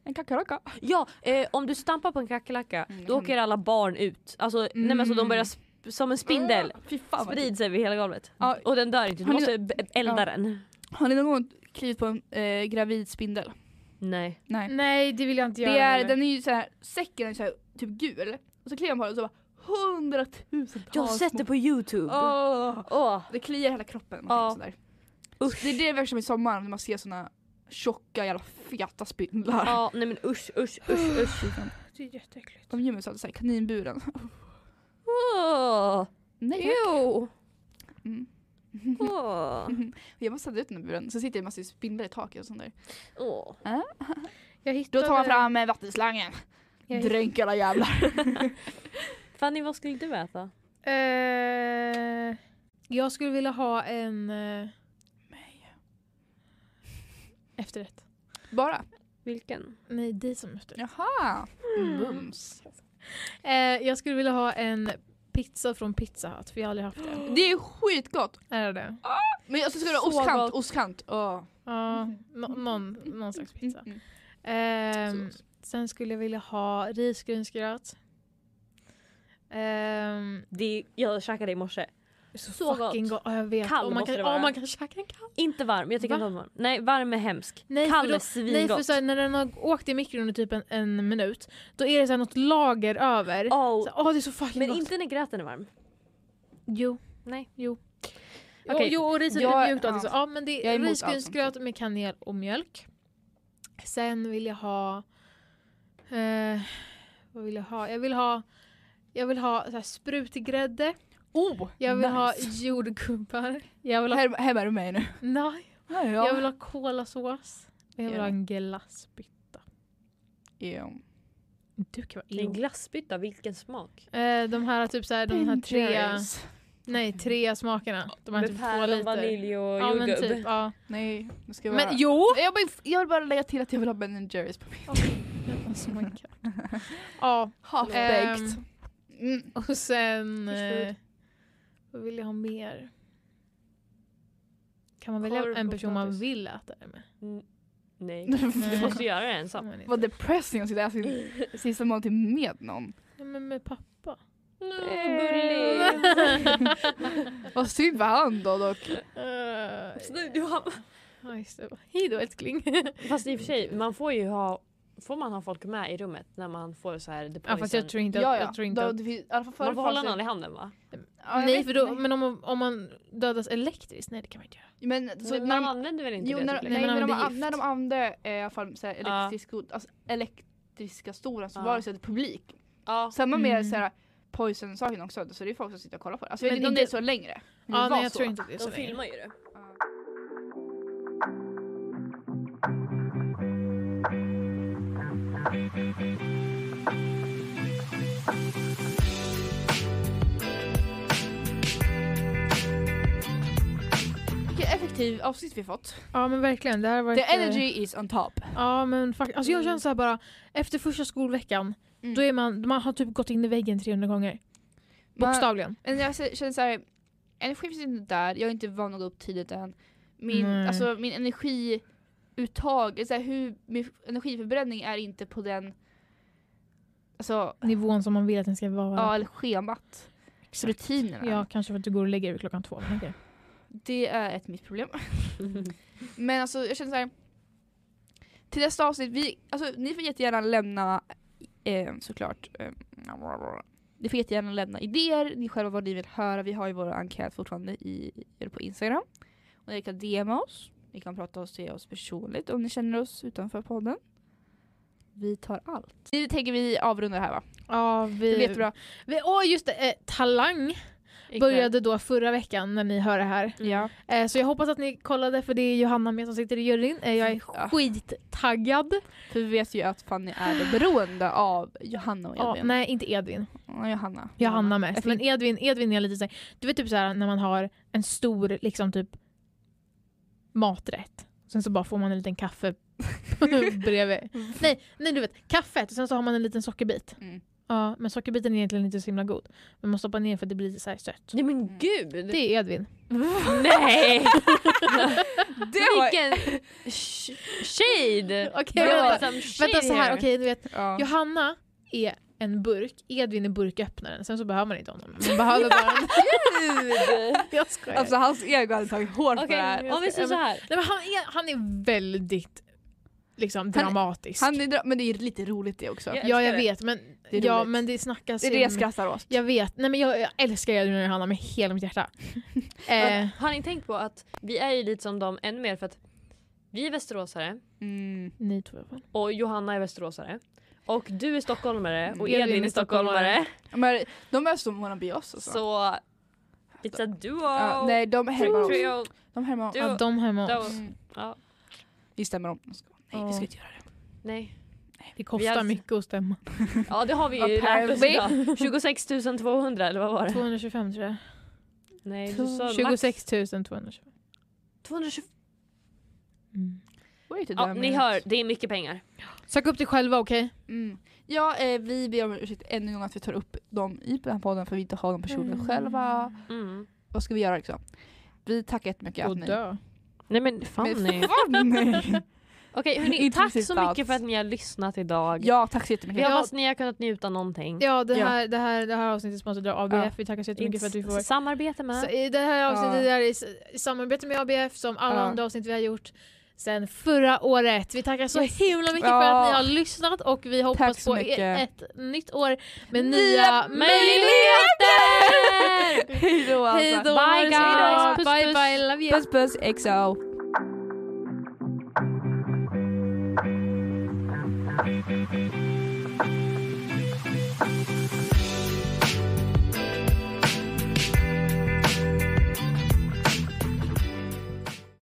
En kakalaka.
Ja, eh, om du stampar på en kackerlacka
Mm, det
då
kan-
åker alla barn ut. Alltså, nej, men alltså de börjar sp- som en spindel.
Ah, Fy fan vad
Sprid sig över hela golvet.
Ja.
Och den dör inte, du
Har ni-
måste b- elda
Ja.
den.
Har ni någon gång klivit på en eh, gravid spindel?
Nej.
Nej.
Nej det vill jag inte göra.
Det är,
heller.
den är ju såhär, säcken är såhär, typ gul. Och så kliar man på den och så bara hundratusentals
Jag har sett det på youtube.
Åh!
Åh,
Det kliar hela kroppen.
Ja.
Ja. Sådär.
Usch.
Det är det verkligen som i sommar när man ser såna tjocka jävla feta spindlar.
Ja, nej men usch usch usch usch.
Det är jätteäckligt.
De gömmer sig alltid såhär i kaninburen.
Åh,
Nej
Jo!
Mm.
Åh.
Jag måste sätta ut den i buren så sitter det en massa spindlar i taket och sånt där.
Åh.
Jag hittade,
Då tar man fram eh, vattenslangen.
Jag
Dränk alla jävlar.
Fanny vad skulle du äta?
Eh, jag skulle vilja ha en... Eh, efterrätt.
Bara.
Vilken?
Nej, dig som efterrätt.
Jaha.
Mm.
Mums.
Eh, jag skulle vilja ha en pizza från Pizza Hut, för jag har aldrig haft det.
Det är skitgott.
Är det det?
Men jag ska du ha
Så
ostkant,
gott.
ostkant. Åh.
Ja, nå- någon, någon slags pizza.
Mm,
Ehm,
mm. Så-
sen skulle jag vilja ha risgrynsgröt. Ehm,
Det, jag käkade i morse.
så,
Så
fucking
gott.
gott. Ja, jag vet.
Kall
Om man
måste
kan,
det vara.
om man kan käka den kall.
Inte varm, jag tycker
Va?
inte om varm. Nej, varm är hemsk.
Nej, för
Kall
då-
är
Nej,
svingott.
för så här, när den har åkt i mikron i typ en, en minut, då är det så här något lager över.
Åh,
Så, åh, det är så fucking
men
gott.
inte när gröten är varm.
Jo.
Nej.
Jo.
Okej.
Jo, jo, och riset
Jag-
är mjukt och allt
ja.
så. Ja, men det
Jag är
är
emot allt
risgrynsgröt med kanel och mjölk. Sen vill jag ha... Eh, vad vill jag ha? Jag vill ha, jag vill ha så här sprutgrädde.
Oh,
Jag vill ha
nice.
jordgubbar. Jag vill ha,
Här, här är du med nu.
nej,
Ja,
jag vill ha kolasås. Och jag vill
Ja.
ha en glassbytta.
Ja.
Du kan vara
En
ill.
glassbytta, vilken smak.
Eh, de här typ så här, de här tre,
Dangerous.
nej, tre smakerna. De här typ
Med
två
päron,
liter.
vanilj och
Ja men
jordgubb.
typ, ja.
Nej, nu ska jag vara...
Men jo!
jag, vill, jag vill bara lägga till att jag vill ha Ben Jerrys på min.
Alltså, man kan. ja,
Half-baked. Mm.
och sen...
Fish food.
Eh, vad vill jag ha mer? Kan man
Korv
välja en
och
person man
potatis.
vill äta det med?
Nej, du måste
Mm.
göra det
Kan
ensam.
man inte.
Vad depressing att sitta och äta sista måltid med någon.
Ja, men med pappa.
Gulligt.
Vad synd för han då dock.
Eh,
Snyggt, du har-
Ja, just det. Hej då älskling.
Fast i och för sig, man får ju ha, får man ha folk med i rummet när man får så här the
ja, fast jag
poison?
tror inte att...
Ja, ja.
Jag tror inte
Då-
att
det finns- i alla fall förr
man får hålla
fanns
någon i handen va?
det- Ja, jag
nej,
vet
för då,
inte.
men om, man- om man dödas elektriskt? Nej, det kan man inte göra.
Men, så
men
när
man
de,
använder väl inte
jo,
det?
när,
typ?
typ.
nej,
Nej, men om
när, de,
det är
an-
gift.
när de använde eh, i alla fall så här,
Ja.
elektrisk, alltså, elektriska stolar så
Ja.
var det så här, publik.
Ja.
Samma med
Mm.
så här, poison-saken också, så det är folk som sitter och kollar på det. Alltså, jag
Men
vet inte om det är
inte-
så längre. men
Ja,
det var
nej, jag
så.
tror inte att det är så
De
länge.
filmar ju det.
Vilket effektivt avsnitt vi fått.
Ja men verkligen, det här har varit...
The
eh,
energy is on top.
Ja men faktiskt, alltså jag
Mm.
känner så här bara, efter första skolveckan,
Mm.
då är man, man har typ gått in i väggen 300 gånger. Bokstavligen.
Men jag se- känner såhär, energin finns inte där, jag är inte van att gå upp tidigt än. Min,
Nej.
alltså, min energiuttag, så här, hur, min energiförbränning är inte på den, alltså,
Nivån som man vill att den ska vara.
ja, eller schemat. Rutinerna.
Ja, kanske för att du går och lägger dig klockan två. Men okej.
Det är ett mitt problem. Men alltså jag känner såhär, till nästa avsnitt, vi, alltså, ni får jättegärna lämna eh, såklart eh, ni får jättegärna lämna idéer, ni själva vad ni vill höra. Vi har ju vår enkät fortfarande i, eller på Instagram. Och ni kan DMa oss, ni kan prata oss till oss personligt om ni känner oss utanför podden. Vi tar allt. Nu tänker vi avrunda det här va?
Ja,
Det
vi...
blir jättebra.
Vi, åh just det, eh, Talang började då förra veckan när ni hör det här.
Ja.
Eh, så jag hoppas att ni kollade för det är Johanna med som sitter i juryn. Eh, jag är
Ja.
skittaggad.
För vi vet ju att Fanny är beroende av Johanna och
Ja,
Edvin.
nej, inte Edvin.
Ja, Johanna.
Johanna
Jag
mest.
fick-
Men Edvin, Edvin är lite såhär, du vet typ såhär när man har en stor liksom typ maträtt. Sen så bara får man en liten kaffe bredvid. Nej, nej du vet, kaffet och sen så har man en liten sockerbit.
Mm.
Ja, men sockerbiten är egentligen inte så himla god. Men man stoppar ner för att det blir lite såhär sött.
Nej men gud!
Det är Edvin.
Nej!
Det var-
Vilken sh- shade!
Okej,
Det var
vänta.
liksom shade
Vänta så här,
here.
okej du vet.
Ja.
Johanna är en burk, Edvin är burköppnaren. Sen så behöver man inte honom. Man behöver bara en... Jag skojar.
Alltså hans ego hade tagit hårt på det här.
Okej, om vi säger så här.
Nej, men han, är, han är väldigt liksom,
Han-
dramatisk.
Han är, dra- men det är lite roligt det också.
Ja,
ja, jag
älskar det.
vet. Men
Det
det,
är
ja,
roligt.
men det snackas
Det är
ju
det jag
om-
skrattar åt.
Jag vet. Nej, men jag, jag älskar Edvin och Johanna med hela mitt hjärta. eh,
Har ni tänkt på att vi är ju lite som dem ännu mer för att vi är västeråsare
Mm.
ni två i alla fall.
och Johanna är västeråsare och du är stockholmare och
Edvin
Edvin
är
är stockholmare.
Men de är som Wanna Be Us och så.
Så it's a duo!
Ja, nej, de härmar oss.
Trio.
De härmar oss.
Du-
Ja, de hemma hos
då-
oss.
Mm.
Ja,
Vi stämmer om. Nej, vi ska inte göra det.
nej.
Det
Vi
kostar
hade-
mycket att stämma.
Ja det har vi ju lärt oss
Apparently.
idag. 26 200 eller vad var det?
225 tror jag.
Nej du sa max
26 225.
220.
Mm.
Wait a
Ja
damn
ni
minute.
hör, det är mycket pengar.
Sök upp dig själva, okej?
Mm. Ja, eh, vi ber om ursäkt ännu en gång att vi tar upp dem i den här podden för vi inte har de personerna själva.
Mm.
Vad ska vi göra liksom? Vi tackar jättemycket
Och
att ni...
dö.
Nej men
Fanny.
Fanny.
Fanny.
Okej hörni,
Inte
tack
precis
så
alls.
mycket för att ni har lyssnat idag.
Ja, tack så
Vi
jättemycket.
hoppas ni har kunnat njuta någonting.
Ja, det
Ja.
här, Det, här, det här avsnittet är sponsrat av ABF.
Ja.
Vi tackar så jättemycket för att vi får...
Samarbete med.
Så i det här avsnittet
Ja.
är i, s- i samarbete med ABF som alla
Ja.
andra avsnitt vi har gjort sen förra året. Vi tackar så himla mycket för
Ja.
att ni har lyssnat och vi hoppas
så
på e-
mycket.
ett nytt år med
Nya
nya,
möjligheter!
möjligheter!
Hej då alltså.
Hej då!
Bye,
Hejdå.
guys. Puss,
Bye
puss.
bye, love you!
Puss puss XO.